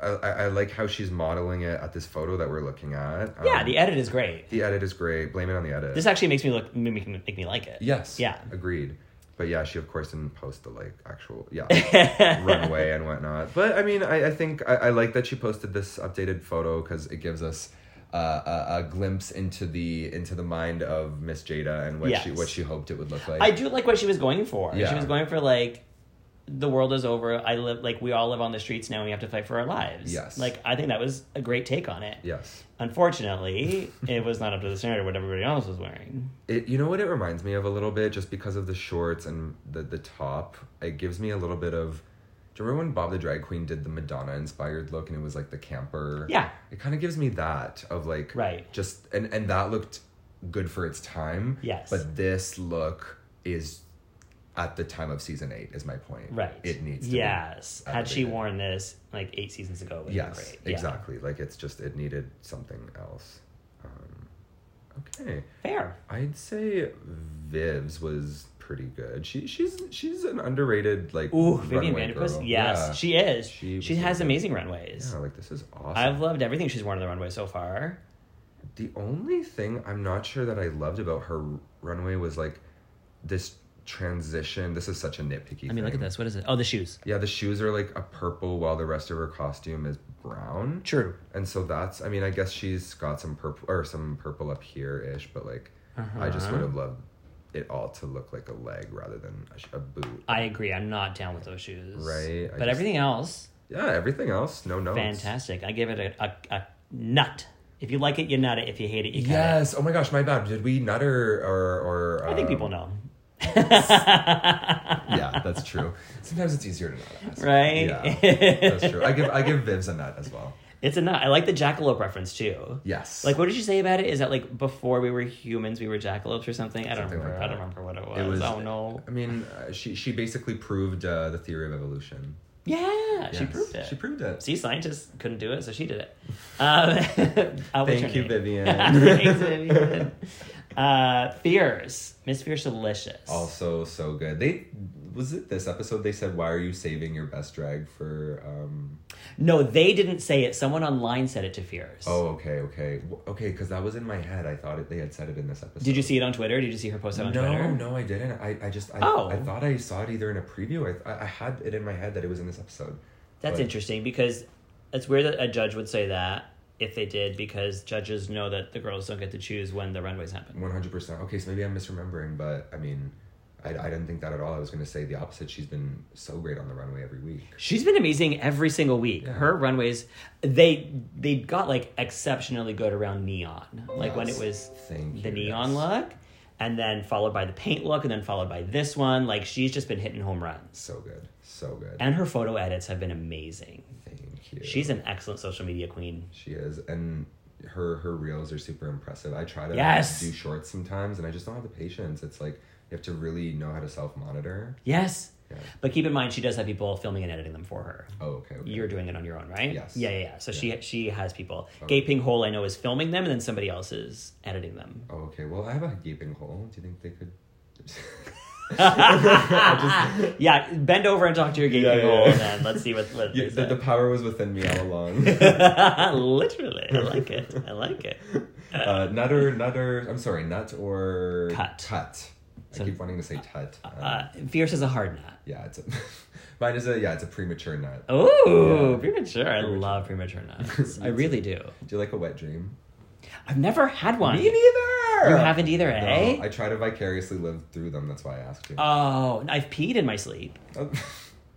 I, I I like how she's modeling it at this photo that we're looking at. Um, Yeah, the edit is great. the edit is great. Blame it on the edit. This actually makes me look make me, make me like it. yes. Yeah. Agreed. But yeah, she of course didn't post the like actual yeah runway and whatnot. But I mean, I, I think I, I like that she posted this updated photo because it gives us uh, a, a glimpse into the into the mind of Miss Jada and what she Yes. what she hoped it would look like. I do like what she was going for. She Yeah. was going for like the world is over. I live like we all live on the streets now. and We have to fight for our lives. Yes. Like I think that was a great take on it. yes. Unfortunately, it was not up to the standard of what everybody else was wearing. It, you know what it reminds me of a little bit, just because of the shorts and the the top. It gives me a little bit of. Do you remember when Bob the drag queen did the Madonna inspired look, and it was like the camper? Yeah. It kind of gives me that of like Right. Just and and that looked good for its time. Yes. But this look is at the time of season eight. Is my point. Right. It needs. to be Yes. Had she elevated. worn this like eight seasons ago, it would have been Yes. great. Yeah. Exactly. Like it's just it needed something else. Um, okay. Fair. I'd say Viv's was pretty good. She she's she's an underrated like Ooh, runway Vivian Vanderpuss. girl. Yes, Yeah. she is. She She, has was really good. amazing runways. Yeah, like this is awesome. I've loved everything she's worn on the runway so far. the only thing I'm not sure that I loved about her runway was like this transition. This is such a nitpicky. I mean, look at this. What is it? Oh, the shoes. Yeah, the shoes are like a purple, while the rest of her costume is brown. True. And so that's. I mean, I guess she's got some purple or some purple up here ish, but like, I Uh-huh. just would have loved it all to look like a leg rather than a, sh- a boot. I agree. I'm not down with those shoes. Right, I But just- everything else, Yeah, everything else, no notes. fantastic. I give it a, a, a nut. If you like it, you nut it. If you hate it, you cut it. Yes. Oh my gosh, my bad. Did we nut or or? or I think people know. Yeah, that's true. Sometimes it's easier to not ask. Right? Yeah, that's true. I give I give Viv's a nut as well. It's a nut. I like the jackalope reference too. Yes. Like, what did you say about it? Is that like before we were humans, we were jackalopes or something? I don't Something remember. like I don't that. remember what it was. It was. oh no. I mean, uh, she she basically proved uh, the theory of evolution. Yeah, she Yes. proved it. She proved it. See, scientists couldn't do it, so she did it. Um, uh, what's her Thank you, name? Vivian. Thanks, Vivian. Uh, Fierce. Miss Fierce Delicious. also, so good. They was it this episode? They said, "Why are you saving your best drag for?" Um... No, they didn't say it. Someone online said it to Fierce. Oh, okay, okay, W- okay. Because that was in my head. I thought it, they had said it in this episode. Did you see it on Twitter? Did you see her post it on No, Twitter? no, I didn't. I, I just I, Oh. I thought I saw it either in a preview. I, I I had it in my head that it was in this episode. That's But- interesting because it's weird that a judge would say that if they did because judges know that the girls don't get to choose when the runways happen. One hundred percent. Okay, so maybe I'm misremembering, but I mean, I, I didn't think that at all. I was going to say the opposite. She's been so great on the runway every week. She's been amazing every single week. Her runways, they they got like exceptionally good around neon, like when it Yes. was Thank the you, neon yes. look, and then followed by the paint look, and then followed by this one. Like she's just been hitting home runs, So good, so good. and her photo edits have been amazing. Thank cute. She's an excellent social media queen. She is, and her her reels are super impressive. I try to Yes. do shorts sometimes, and I just don't have the patience. It's like you have to really know how to self monitor. Yes. Yeah. But keep in mind, she does have people filming and editing them for her. Oh, okay. okay. You're doing it on your own, right? Yes. Yeah, yeah, yeah. So she she has people. Gaping Hole, I know, is filming them, and then somebody else is editing them. oh, okay. Well, I have a gaping hole. Do you think they could? Yeah, bend over and talk to your gaping Yeah, yeah, hole, yeah. and then let's see what. what Yeah, is the, that. the power was within me all along. Literally, I like it. I like it. uh, nutter, nutter. I'm sorry, nut or Tut. Tut. I keep wanting to say tut. Um, Uh, fierce is a hard nut. yeah, it's a, mine is a yeah, it's a premature nut. Oh, premature! I love premature nuts. I really do. Do you like a wet dream? I've never had one. Me neither. You haven't either, No, eh? I try to vicariously live through them. That's why I asked you. Oh, I've peed in my sleep. Oh,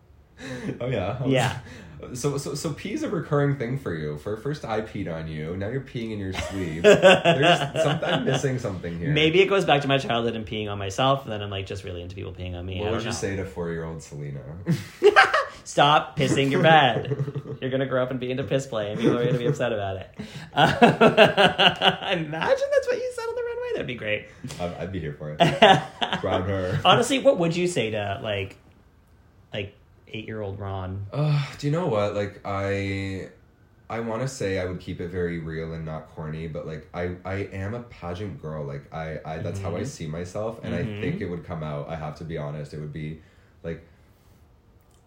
oh, yeah. Yeah. So so so pee's a recurring thing for you. For first I peed on you. Now you're peeing in your sleep. There's something I'm missing something here. Maybe it goes back to my childhood and peeing on myself, and then I'm like just really into people peeing on me. I What don't would you know. say to four year old Selena? Stop pissing your bed. You're gonna grow up and be into piss play, and people are gonna be upset about it. Uh, imagine that's what you said on the runway. That'd be great. I'd, I'd be here for it. Brown her. Honestly, what would you say to like, like eight year old Ron? Uh, do you know what? Like I I want to say I would keep it very real and not corny, but like I I am a pageant girl. Like I I that's how I see myself and I think it would come out. I have to be honest. It would be like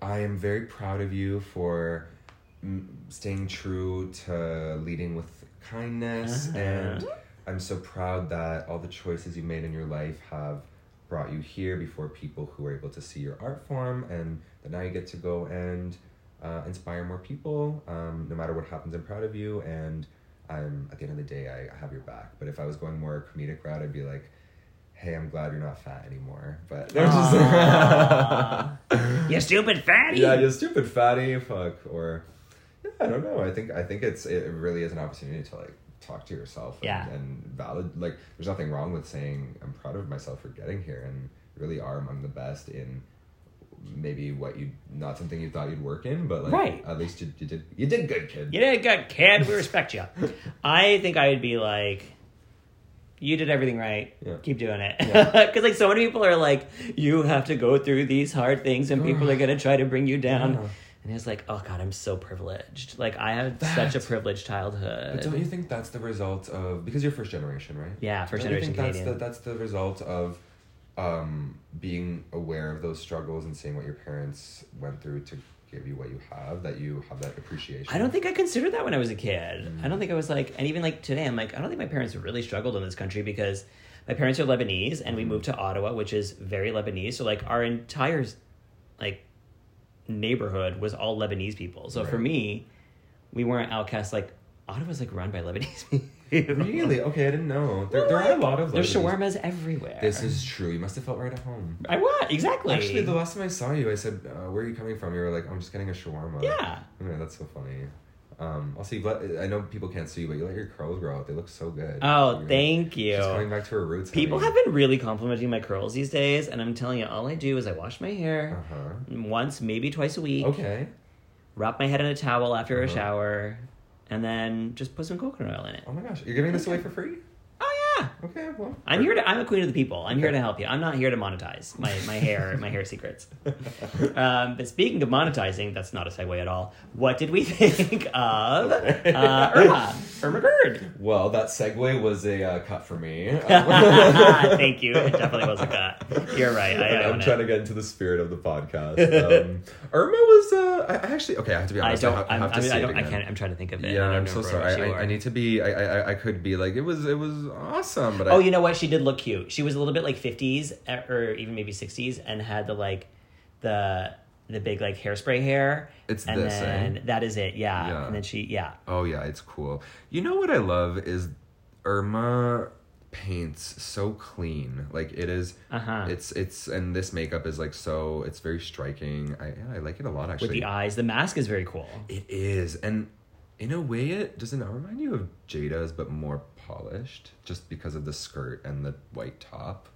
I am very proud of you for mm, staying true to leading with kindness and I'm so proud that all the choices you made in your life have brought you here before people who are able to see your art form and that now you get to go and uh, inspire more people um, no matter what happens i'm proud of you and i'm at the end of the day I, I have your back but if i was going more comedic route i'd be like hey i'm glad you're not fat anymore but they're just You stupid fatty. yeah, you stupid fatty, fuck, or yeah, I don't know. I think I think it's it really is an opportunity to like talk to yourself. And, Yeah. and valid. Like, there's nothing wrong with saying I'm proud of myself for getting here, and really are among the best in maybe what you not something you thought you'd work in, but like Right. at least you, you did you did good, kid. You did good, kid. We respect you. I think I would be like, you did everything right. Yeah. Keep doing it. Because like so many people are like, you have to go through these hard things, and people are gonna try to bring you down. Yeah. And it's like, oh god, I'm so privileged. Like I had such a privileged childhood. But don't you think that's the result of because you're first generation, right? Yeah, first Don't you generation think that's Canadian. The, that's the result of um, being aware of those struggles and seeing what your parents went through to give you what you have. That you have that appreciation. I don't think I considered that when I was a kid. I Hmm. don't think I was like, and even like today, I'm like, I don't think my parents really struggled in this country because my parents are Lebanese and Hmm. we moved to Ottawa, which is very Lebanese. So like our entire like neighborhood was all Lebanese people. So for Right. me, we weren't outcasts. Like Ottawa's like run by Lebanese people. really. Okay, I didn't know. There, there are a lot of There's Lebanese- shawarmas everywhere. This is true. You must have felt right at home. I what exactly? Actually, the last time I saw you, I said, uh, "Where are you coming from?" You were like, "I'm just getting a shawarma." Yeah. Yeah, that's so funny. Um, also, you've let, I know people can't see you, but you let your curls grow out. They look so good. oh, You're- thank you. She's going back to her roots. People honey. have been really complimenting my curls these days, and I'm telling you, all I do is I wash my hair Uh-huh. once, maybe twice a week, Okay. Uh-huh. wrap my head in a towel after a shower, and then just put some coconut oil in it. Oh my gosh, you're giving this away for free? Oh yeah, Okay, well. I'm here to. I'm a queen of the people. I'm here to help you. I'm not here to monetize my my hair my hair secrets. Um, but speaking of monetizing, that's not a segue at all. What did we think of uh, Irma Irma Bird? Well, that segue was a uh, cut for me. Um, Thank you. It definitely was a cut. You're right. I, I I'm own it. trying to get into the spirit of the podcast. Um, Irma was. Uh, I I actually okay. I have to be I honest. don't. have, I'm, have to I, mean, see I it don't. I again. can't. I'm trying to think of it. and Yeah, I don't I'm know so if we're sorry. I, I, I sure. need to be. I, I I could be like it was. It was awesome, but Oh, I, you know what? She did look cute. She was a little bit like 50s eh, or even maybe 60s, and had the like the the big like hairspray hair. It's and this, eh? then that is it. Yeah. Yeah. and then she yeah. Oh yeah, it's cool. You know what I love is Irma paints so clean. Like it is- Uh-huh. It's it's and this makeup is like so. It's very striking. I yeah, I like it a lot actually. With the eyes, the mask is very cool. It is, and in a way, it doesn't that remind you of Jada's, but more polished, just because of the skirt and the white top.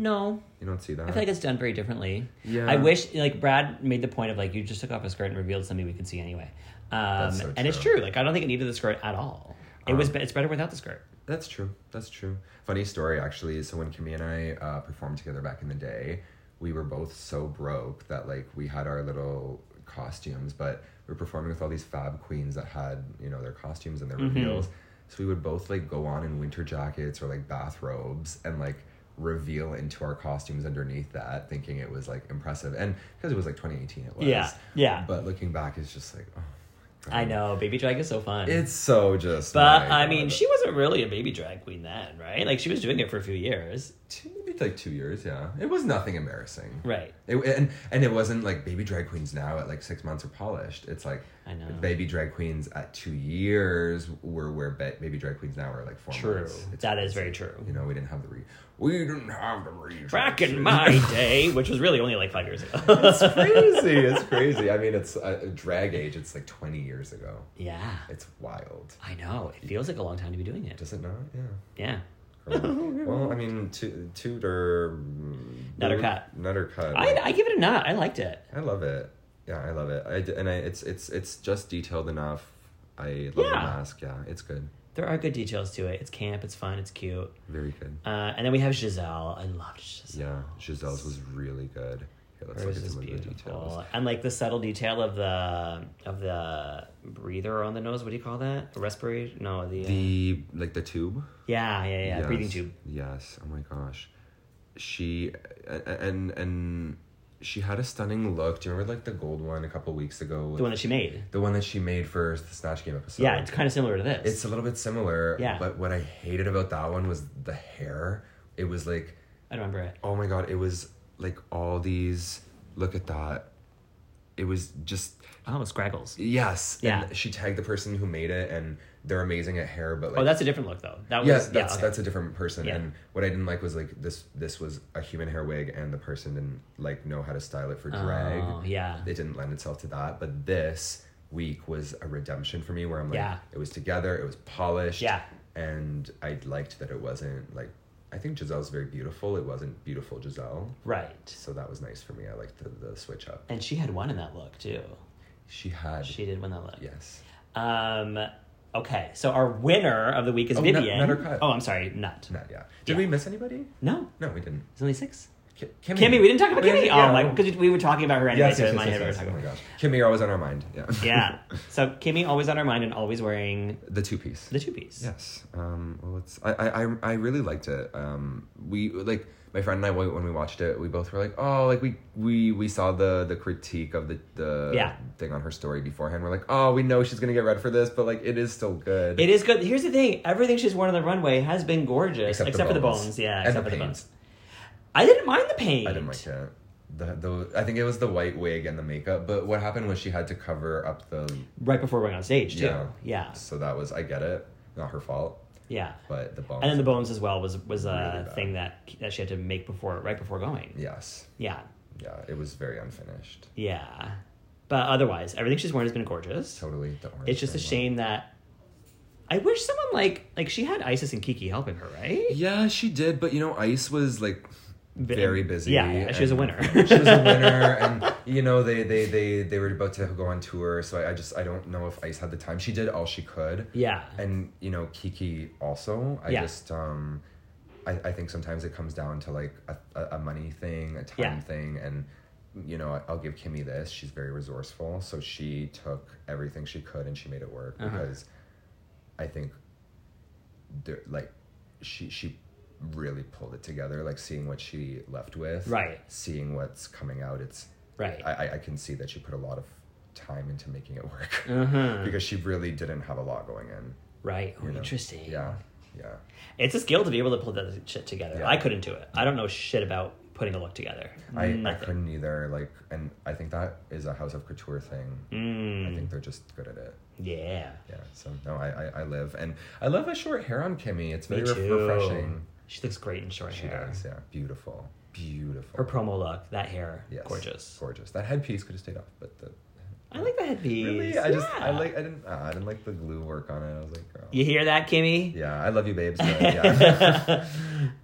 No, You don't see that. I feel like it's done very differently. Yeah. I wish, like, Brad made the point of, like, you just took off a skirt and revealed something we could see anyway. Um, so And it's true. true. Like, I don't think it needed the skirt at all. It was, it's better without the skirt. That's true. That's true. Funny story, actually. So when Kimmy and I uh, performed together back in the day, we were both so broke that like we had our little costumes, but we were performing with all these fab queens that had you know their costumes and their Mm-hmm. reveals. So we would both like go on in winter jackets or like bathrobes and like reveal into our costumes underneath that, thinking it was like impressive. And because it was like 2018, it was. Yeah, yeah. But looking back, it's just like, oh, I know. Baby drag is so fun. it's so just. but, my I mean, God. she wasn't really a baby drag queen then, right? Like, she was doing it for a few years. two, maybe like two years. Yeah, it was nothing embarrassing. Right. It, and and it wasn't like baby drag queens now at like six months are polished. It's like I know. baby drag queens at two years were where ba- baby drag queens now are like four True. months. It's- That is very true. You know, we didn't have the re. We didn't have the re. Back in my day, which was really only like five years ago. It's crazy. It's crazy. I mean, it's uh, drag age. It's like twenty years ago. yeah. It's wild. I know. It feels like a long time to be doing it. Does it not? Yeah. Yeah. well, I mean, to, Tudor. Nutter cut. Nutter cut. I, I give it a nod. I liked it. I love it. Yeah, I love it. I d- and I it's it's it's just detailed enough. I love the Yeah. mask. Yeah, it's good. There are good details to it. It's camp. It's fun. It's cute. Very good. Uh, and then we have Giselle. I loved Giselle. Yeah, Giselle's was really good. Here, let's Hers look at is some of the details. beautiful. And like the subtle detail of the of the breather on the nose. What do you call that? A respirator? No, the, uh, The like the tube. yeah, yeah, yeah. Yes. Breathing tube. Yes. Oh my gosh. She a- a- and and she had a stunning look. Do you remember like the gold one a couple weeks ago? The one that she made. the one that she made for the Snatch Game episode. Yeah, it's kind of similar to this. It's a little bit similar. Yeah. But what I hated about that one was the hair. It was like I don't remember it. oh my god, it was like all these. Look at that. It was just Oh, Scraggles. yes. Yeah. And she tagged the person who made it, and they're amazing at hair, but like. Oh, that's a different look though. That was Yes, yeah, that's okay. that's a different person, Yeah. and what I didn't like was like this. This was a human hair wig, and the person didn't like know how to style it for drag. Oh, yeah. It didn't lend itself to that. But this week was a redemption for me, where I'm like, Yeah. it was together, it was polished, Yeah. and I liked that it wasn't like. I think Giselle's very beautiful. It wasn't beautiful Giselle, Right. so that was nice for me. I liked the, the switch up. And she had one in that look too. She had She did win that look. yes. Um, okay, so our winner of the week is Oh, nut- Vivian. nut or cut? Oh, I'm sorry, Nut. Not yeah. Did Yeah. we miss anybody? No, No, we didn't. it's only six. Ki- Kimmy, we didn't talk about We Kimmy. didn't- Oh yeah. my, because we were talking about her anyway. Yes, so yes, in my yes, head we were yes, yes. talking Oh my about her. gosh, Kimmy, you're always on our mind. Yeah. Yeah. So Kimmy always on her mind and always wearing the two piece. the two piece. Yes. Um, well, it's I, I I- I really liked it. Um, we like my friend and I when we watched it, we both were like, oh, like we we we saw the the critique of the the Yeah. thing on her story beforehand. We're like, oh, we know she's gonna get red for this, but like it is still good. It is good. Here's the thing: everything she's worn on the runway has been gorgeous, Except except, the for the bones. bones. Yeah, And except the for the paint. bones. I didn't mind the paint. I didn't like it. The, the, I think it was the white wig and the makeup, but what happened was she had to cover up the Right before we went on stage, too. yeah Yeah, yeah. So that was I get it, not her fault, but the bones. And then the bones as well was was a Really bad. thing that that she had to make before, right before going. Yes, Yeah, yeah, it was very unfinished. yeah. But otherwise, everything she's worn has been gorgeous. Totally, the orange. It's just a thing was- shame that I wish someone like like she had Isis and Kiki helping her, right? Yeah, she did, but you know, Ice was like very busy. Yeah, yeah, she was a and- winner. she was a winner, and you know they they they they were about to go on tour, so I, I just I don't know if Ice had the time. She did all she could. Yeah. and you know Kiki also. I Yeah. just um, I I think sometimes it comes down to like a a, a money thing, a time Yeah. thing, and you know I- I'll give Kimmy this. She's very resourceful, so she took everything she could and she made it work Uh-huh. because I think there like she she really pulled it together like seeing what she left with Right. seeing what's coming out it's Right. i I- i can see that she put a lot of time into making it work Mm-hmm. because she really didn't have a lot going in right. Oh, you know? interesting. yeah yeah It's a skill to be able to pull that shit together. Yeah. I couldn't do it. I don't know shit about putting a look together. I, I Nothing. couldn't either like and i think that is a house of couture thing i Mm-hmm. think they're just good at it Mm, Yeah. yeah so no i i, I live and i love a short hair on kimmy it's very Me re- too. refreshing She looks great in short she hair. does yeah beautiful beautiful Her promo look, that hair, Yes. gorgeous. Gorgeous. That headpiece could have stayed off, but the I like the headpiece. really, I just I Yeah. like I didn't uh, I didn't like the glue work on it. I was like, girl. You hear that, Kimmy? Yeah, I love you, babes. But yeah.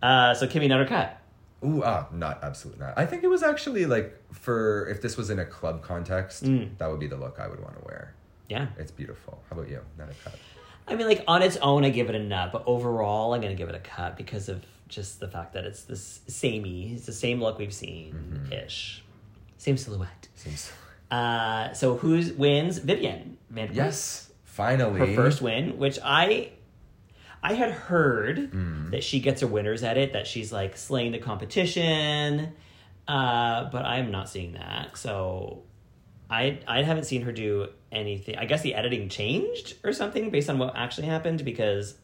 Uh, so Kimmy Nutter cut. Ooh, ah, not absolutely not. I think it was actually like for if this was in a club context, Mm. that would be the look I would want to wear. Yeah. It's beautiful. How about you? Not a cut. I mean, like on its own, I give it a nut, but overall, I'm gonna give it a cut because of just the fact that it's this samey, it's the same look we've Mm-hmm. seen ish, same silhouette. Seems Uh, so who wins? Vivian Vanderpump. yes. Finally, her first win, which I. I had heard Mm. that she gets her winners at it, that she's like slaying the competition, uh, but I'm not seeing that. So I I haven't seen her do anything. I guess the editing changed or something based on what actually happened because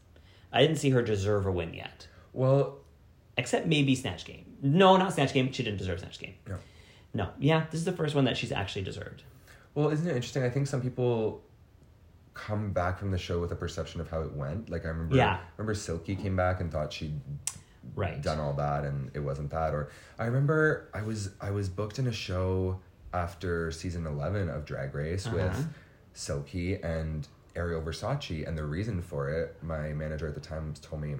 I didn't see her deserve a win yet, Well, except maybe Snatch Game. No, not Snatch Game. She didn't deserve Snatch Game. No. No. Yeah, this is the first one that she's actually deserved. well, isn't it interesting? I think some people come back from the show with a perception of how it went. Like I remember, Yeah. remember Silky came back and thought she'd Right. done all that and it wasn't that or i remember i was i was booked in a show after season 11 of drag race Uh-huh. with silky and ariel versace and the reason for it my manager at the time told me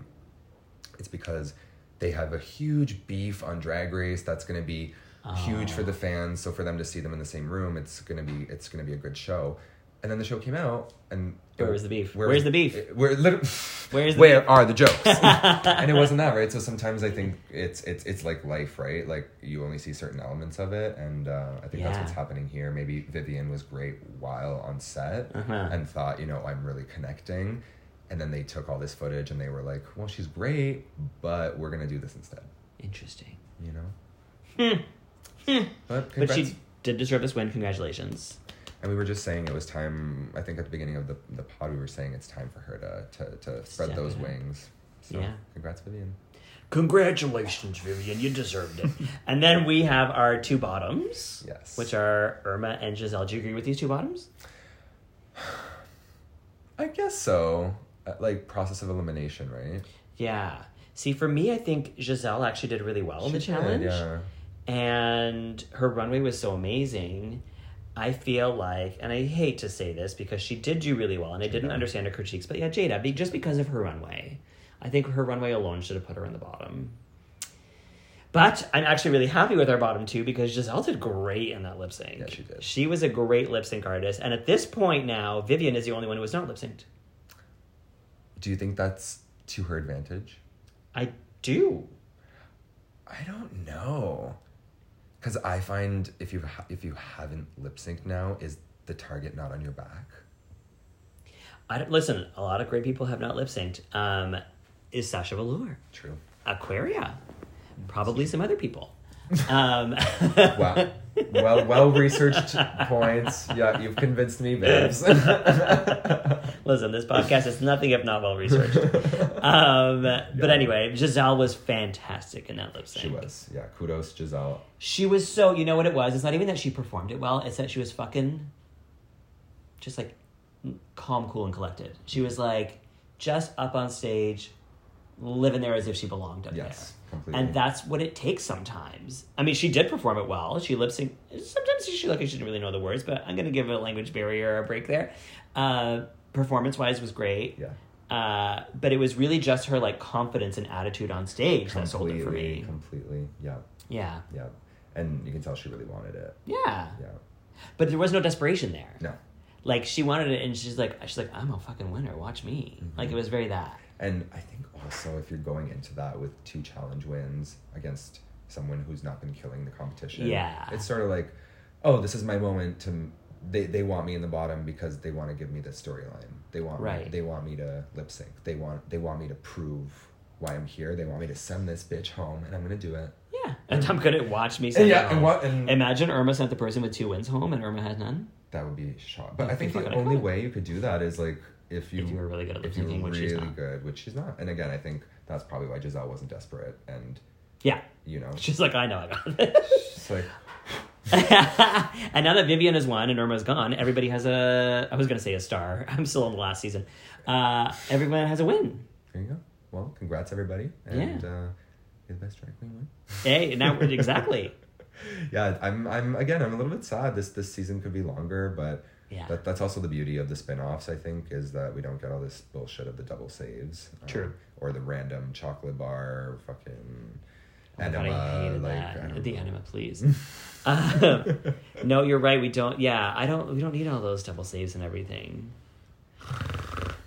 it's because they have a huge beef on drag race that's going to be huge Oh. for the fans so for them to see them in the same room it's going to be it's going to be a good show and then the show came out and Where was the beef? Where's the beef? it- where lit- Where's the where are the jokes? and it wasn't that right. So sometimes I think it's it's it's like life, right? Like you only see certain elements of it, and uh, I think that's Yeah. what's happening here. Maybe Vivian was great while on set Uh-huh. and thought, you know, I'm really connecting, and then they took all this footage and they were like, well, she's great, but we're gonna do this instead, Interesting. you know. But Hmm. But congrats. she did deserve this win. Congratulations. And we were just saying it was time. I think at the beginning of the, the pod, we were saying it's time for her to to, to spread Step those it up. wings. So Yeah. congrats, Vivian. Congratulations, Vivian, you deserved it. and then we have our two bottoms. Yes. Which are Irma and Giselle. Do you agree with these two bottoms? I guess so. Uh, Like process of elimination, right? Yeah. See, for me, I think Giselle actually did really well in the She did, challenge. yeah. And her runway was so amazing. I feel like, and I hate to say this because she did do really well, and I didn't understand her critiques, but yeah, Jada, be- just because of her runway. I think her runway alone should have put her in the bottom. But I'm actually really happy with our bottom two because Giselle did great in that lip sync. Yeah, she did. She was a great lip sync artist. And at this point now, Vivian is the only one who was not lip synced. Do you think that's to her advantage? I do. I don't know. Cause I find if you ha- if you haven't lip synced now, is the target not on your back? I don't, listen, a lot of great people have not lip synced. Um, is Sasha Velour, True. Aquaria, probably some other people. Um, Wow. well, well researched points. Yeah, you've convinced me, babes. listen, this podcast is nothing if not well researched. Um, But anyway, Giselle was fantastic in that lip sync. she was. Yeah. Kudos, Giselle. She was so, you know what it was? It's not even that she performed it well, it's that she was fucking just like calm, cool, and collected. She was like just up on stage, living there as if she belonged up Yes, there. completely. And that's what it takes sometimes. I mean, she did perform it well. She lip synced. Sometimes she like she didn't really know the words, but I'm gonna give a language barrier a break there. Uh, performance wise was great. Yeah. Uh, but it was really just her like confidence and attitude on stage that sold it for Completely. me. Completely. Yeah. Yeah. Yeah. And you can tell she really wanted it. Yeah. Yeah. But there was no desperation there. No. Like she wanted it, and she's like, she's like, I'm a fucking winner. Watch me. Mm-hmm. Like it was very that. And I think also if you're going into that with two challenge wins against someone who's not been killing the competition, Yeah. it's sort of like, oh, this is my moment to. They, they want me in the bottom because they want to give me this storyline. They want me, Right. they want me to lip sync. They want they want me to prove why I'm here. They want me to send this bitch home, and I'm gonna do it. Yeah. And I'm gonna watch me. Send yeah, it and home. what- and- imagine Irma sent the person with two wins home, and Irma had none. That would be shot. But I think pretty the fucking only iconic. way you could do that is like if you, If you were really good at if you were lip-syncing, which she's really not. good, which she's not. And again, I think that's probably why Giselle wasn't desperate, and Yeah. you know, She's like, I know I got this. she's like. and now that Vivian is won and Irma's gone, everybody has a. I was gonna say a star. I'm still on the last season. Uh, everyone has a win. There you go. Well, congrats everybody, and uh, you're the best drag queen win. Hey, now we're exactly. Yeah, I'm. I'm again. I'm a little bit sad. This this season could be longer, but Yeah. that, that's also the beauty of the spin-offs, I think, is that we don't get all this bullshit of the double saves, um, True. or the random chocolate bar fucking Oh God, I enema, hated uh, like that. I don't the know. enema, please. Um, no, you're right. We don't. Yeah, I don't. We don't need all those double saves and everything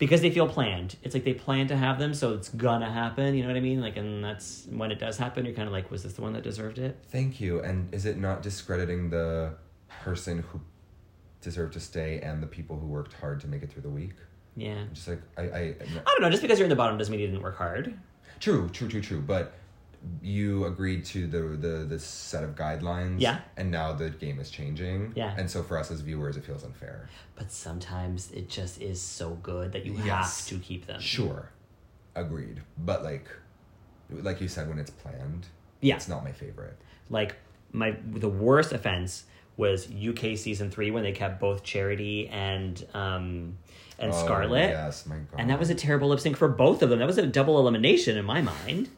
because they feel planned. It's like they plan to have them, so it's gonna happen. You know what I mean? Like, and that's when it does happen. You're kind of like, was this the one that deserved it? Thank you. And is it not discrediting the person who deserved to stay and the people who worked hard to make it through the week? Yeah. Just like I, I, I don't know. Just because you're in the bottom doesn't mean you didn't work hard. true, true, true, true. But you agreed to the the the set of guidelines. Yeah. And now the game is changing. Yeah. And so for us as viewers, it feels unfair. But sometimes it just is so good that you Yes. have to keep them. Sure, agreed. But like, like you said, when it's planned, Yeah. it's not my favorite. like my the worst offense was UK season three when they kept both Charity and um and Oh, Scarlet, Yes, my God. and that was a terrible lip sync for both of them. That was a double elimination in my mind,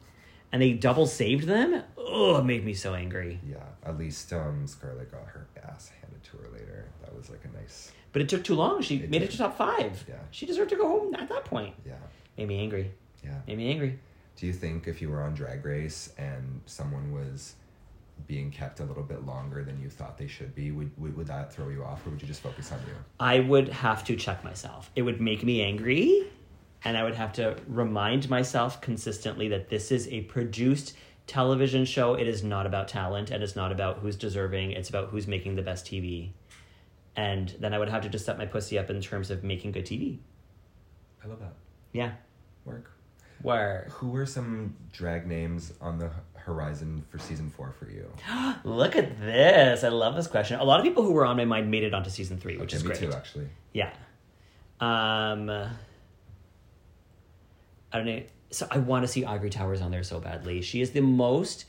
and they double saved them. Oh, it made me so angry. Yeah, at least um, Scarlett got her ass handed to her later. That was like a nice. But it took too long. She made it did. to top five. Yeah. she deserved to go home at that point. Yeah, Made me angry. yeah. Made me angry. Do you think if you were on Drag Race and someone was being kept a little bit longer than you thought they should be, would would, would that throw you off, or would you just focus on you? I would have to check myself. It would make me angry, and I would have to remind myself consistently that this is a produced television show. It is not about talent, and it's not about who's deserving. It's about who's making the best TV. And then I would have to just set my pussy up in terms of making good TV. I love that Yeah. work. Where? Who were some drag names on the h- horizon for season four for you? Look at this. I love this question. A lot of people who were on my mind made it onto season three, which Okay, is me great. too, actually. Yeah. Um I don't know. So I want to see Ivory Towers on there so badly. She is the most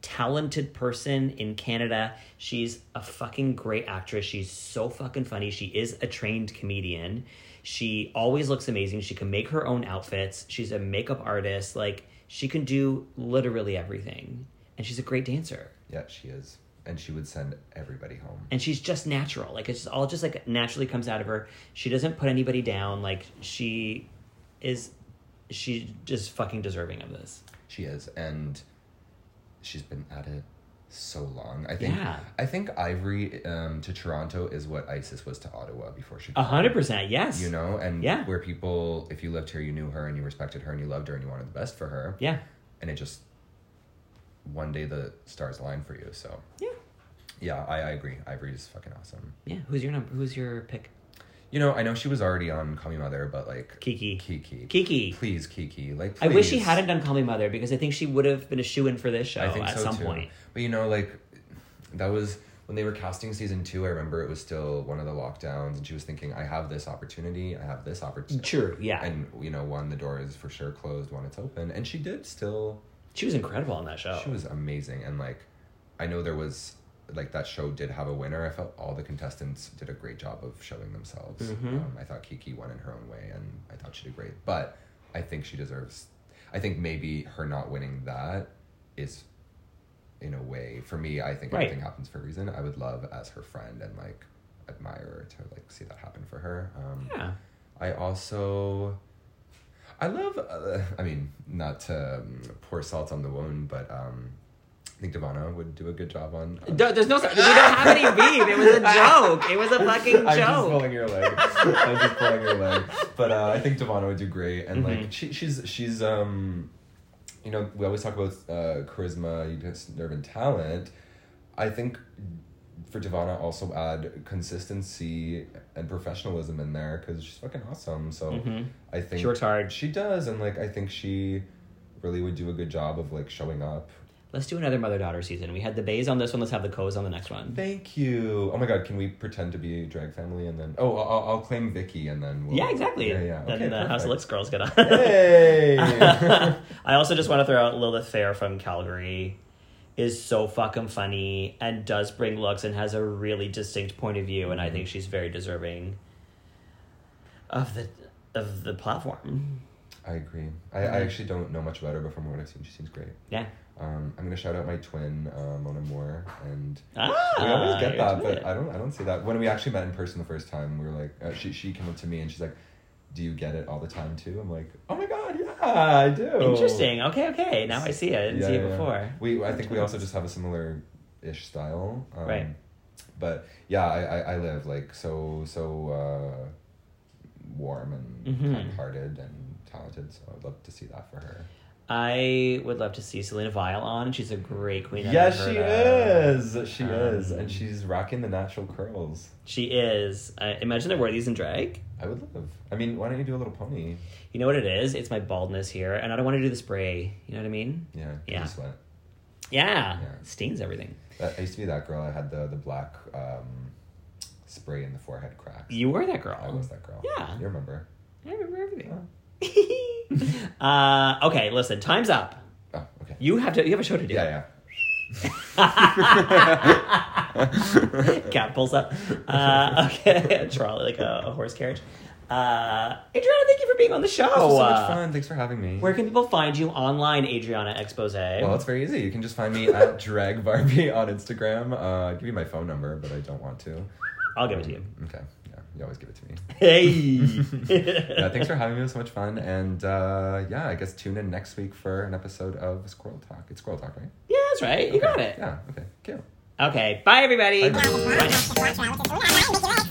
talented person in Canada. She's a fucking great actress. She's so fucking funny. She is a trained comedian. She always looks amazing. She can make her own outfits. She's a makeup artist. Like she can do literally everything. And she's a great dancer Yeah, she is, and she would send everybody home. and she's just natural like it's just all just like naturally comes out of her she doesn't put anybody down like she is she's just fucking deserving of this She is, and she's been at it so long. I think. Yeah. I think Ivory um, to Toronto is what ISIS was to Ottawa before she. a hundred percent yes You know, and Uh-huh. Yeah. where people, if you lived here, you knew her and you respected her and you loved her and you wanted the best for her. yeah And it just one day the stars aligned for you. So yeah yeah, I, I agree. Ivory is fucking awesome. yeah who's your number who's your pick You know, I know she was already on Call Me Mother, but like kiki Kiki, kiki please Kiki, like i wish she please. hadn't done call me mother because i think she would have been a shoe in for this show I think Oh, at so some too. point But you know, like that was when they were casting season two. I remember it was still one of the lockdowns, and she was thinking, "I have this opportunity. I have this opportunity." true yeah And you know, one the door is for sure closed, one it's open, and she did still. she was incredible on that show She was amazing, and like, I know there was like that show did have a winner. I felt all the contestants did a great job of showing themselves. Mm-hmm. Um, I thought Kiki won in her own way, and I thought she did great. But I think she deserves. I think maybe her not winning that is, in a way, for me. I think Right. everything happens for a reason. I would love as her friend and like admirer to like see that happen for her. Um, yeah I also, I love. Uh, I mean, not to um, pour salt on the wound, but um, I think Devana would do a good job on. on- No, there's no. We don't have any beef. It was a joke. It was a fucking joke. I'm just pulling your leg. I'm just pulling your leg. But uh, I think Devana would do great, and Mm-hmm. like she, she's she's um, you know, we always talk about uh, charisma, you just nerve and talent. I think for Devana also add consistency and professionalism in there because she's fucking awesome. So I think Mm-hmm. She works hard. She does, and like I think she really would do a good job of like showing up. Let's do another mother daughter season. We had the bays on this one. Let's have the co's on the next one. Thank you. Oh my god, can we pretend to be a drag family and then? Oh, I'll, I'll claim Vicky and then. We'll, Yeah, exactly. Yeah, yeah. Then uh, Okay, the House of perfect. Licks girls get on. Hey. I also just want to throw out Lilith Fair from Calgary is so fucking funny and does bring looks and has a really distinct point of view and I Mm-hmm. think she's very deserving of the of the platform. I agree. I, I actually don't know much about her, but from what I've seen, she seems great. Yeah. Um, I'm gonna shout out my twin, uh, Mona Moore, and Ah, we always get you're that, but good. I don't. I don't see that. When we actually met in person the first time, we were like, uh, she she came up to me and she's like, "Do you get it all the time too?" I'm like, "Oh my god, yeah!" I do. Interesting. Okay, okay. Now I see it. I didn't Yeah, see it yeah, yeah. before. We, I think we also just have a similar ish style. Um, Right. But yeah, I, I, I live like so so uh, warm and Mm-hmm. kind hearted and talented. So I'd love to see that for her. I would love to see Selena Vile on. She's a great queen. I've yes, never she heard of. Um, is. She is, and she's rocking the natural curls. She is. I imagine I wear these in drag. I would love. I mean, why don't you do a little pony? You know what it is? It's my baldness here, and I don't want to do the spray. You know what I mean? Yeah. Yeah. Just let- Yeah. Yeah. Stains everything. That, I used to be that girl. I had the the black um, spray in the forehead crack. You were that I girl. was that girl. Yeah. You remember? I remember everything. uh, okay, listen. Time's up. Oh, okay. You have to. You have a show to do. Yeah, yeah. Cat pulls up. Uh, okay, trolley like a, a horse carriage. Uh, Adriana, thank you for being on the show. This was so much Uh, fun. Thanks for having me. Where can people find you online, Adriana Expose? well, it's very easy. You can just find me at Drag Barbie on Instagram. Uh, I'd give you my phone number, but I don't want to. I'll give it to you. Okay. Yeah, you always give it to me. Hey. Yeah, thanks for having me. It was so much fun. And uh, yeah, I guess tune in next week for an episode of Squirrel Talk. It's Squirrel Talk, right? yeah, that's right. You got it. Yeah. Okay. Cute. Okay. Bye, everybody. Bye. Bye. Bye.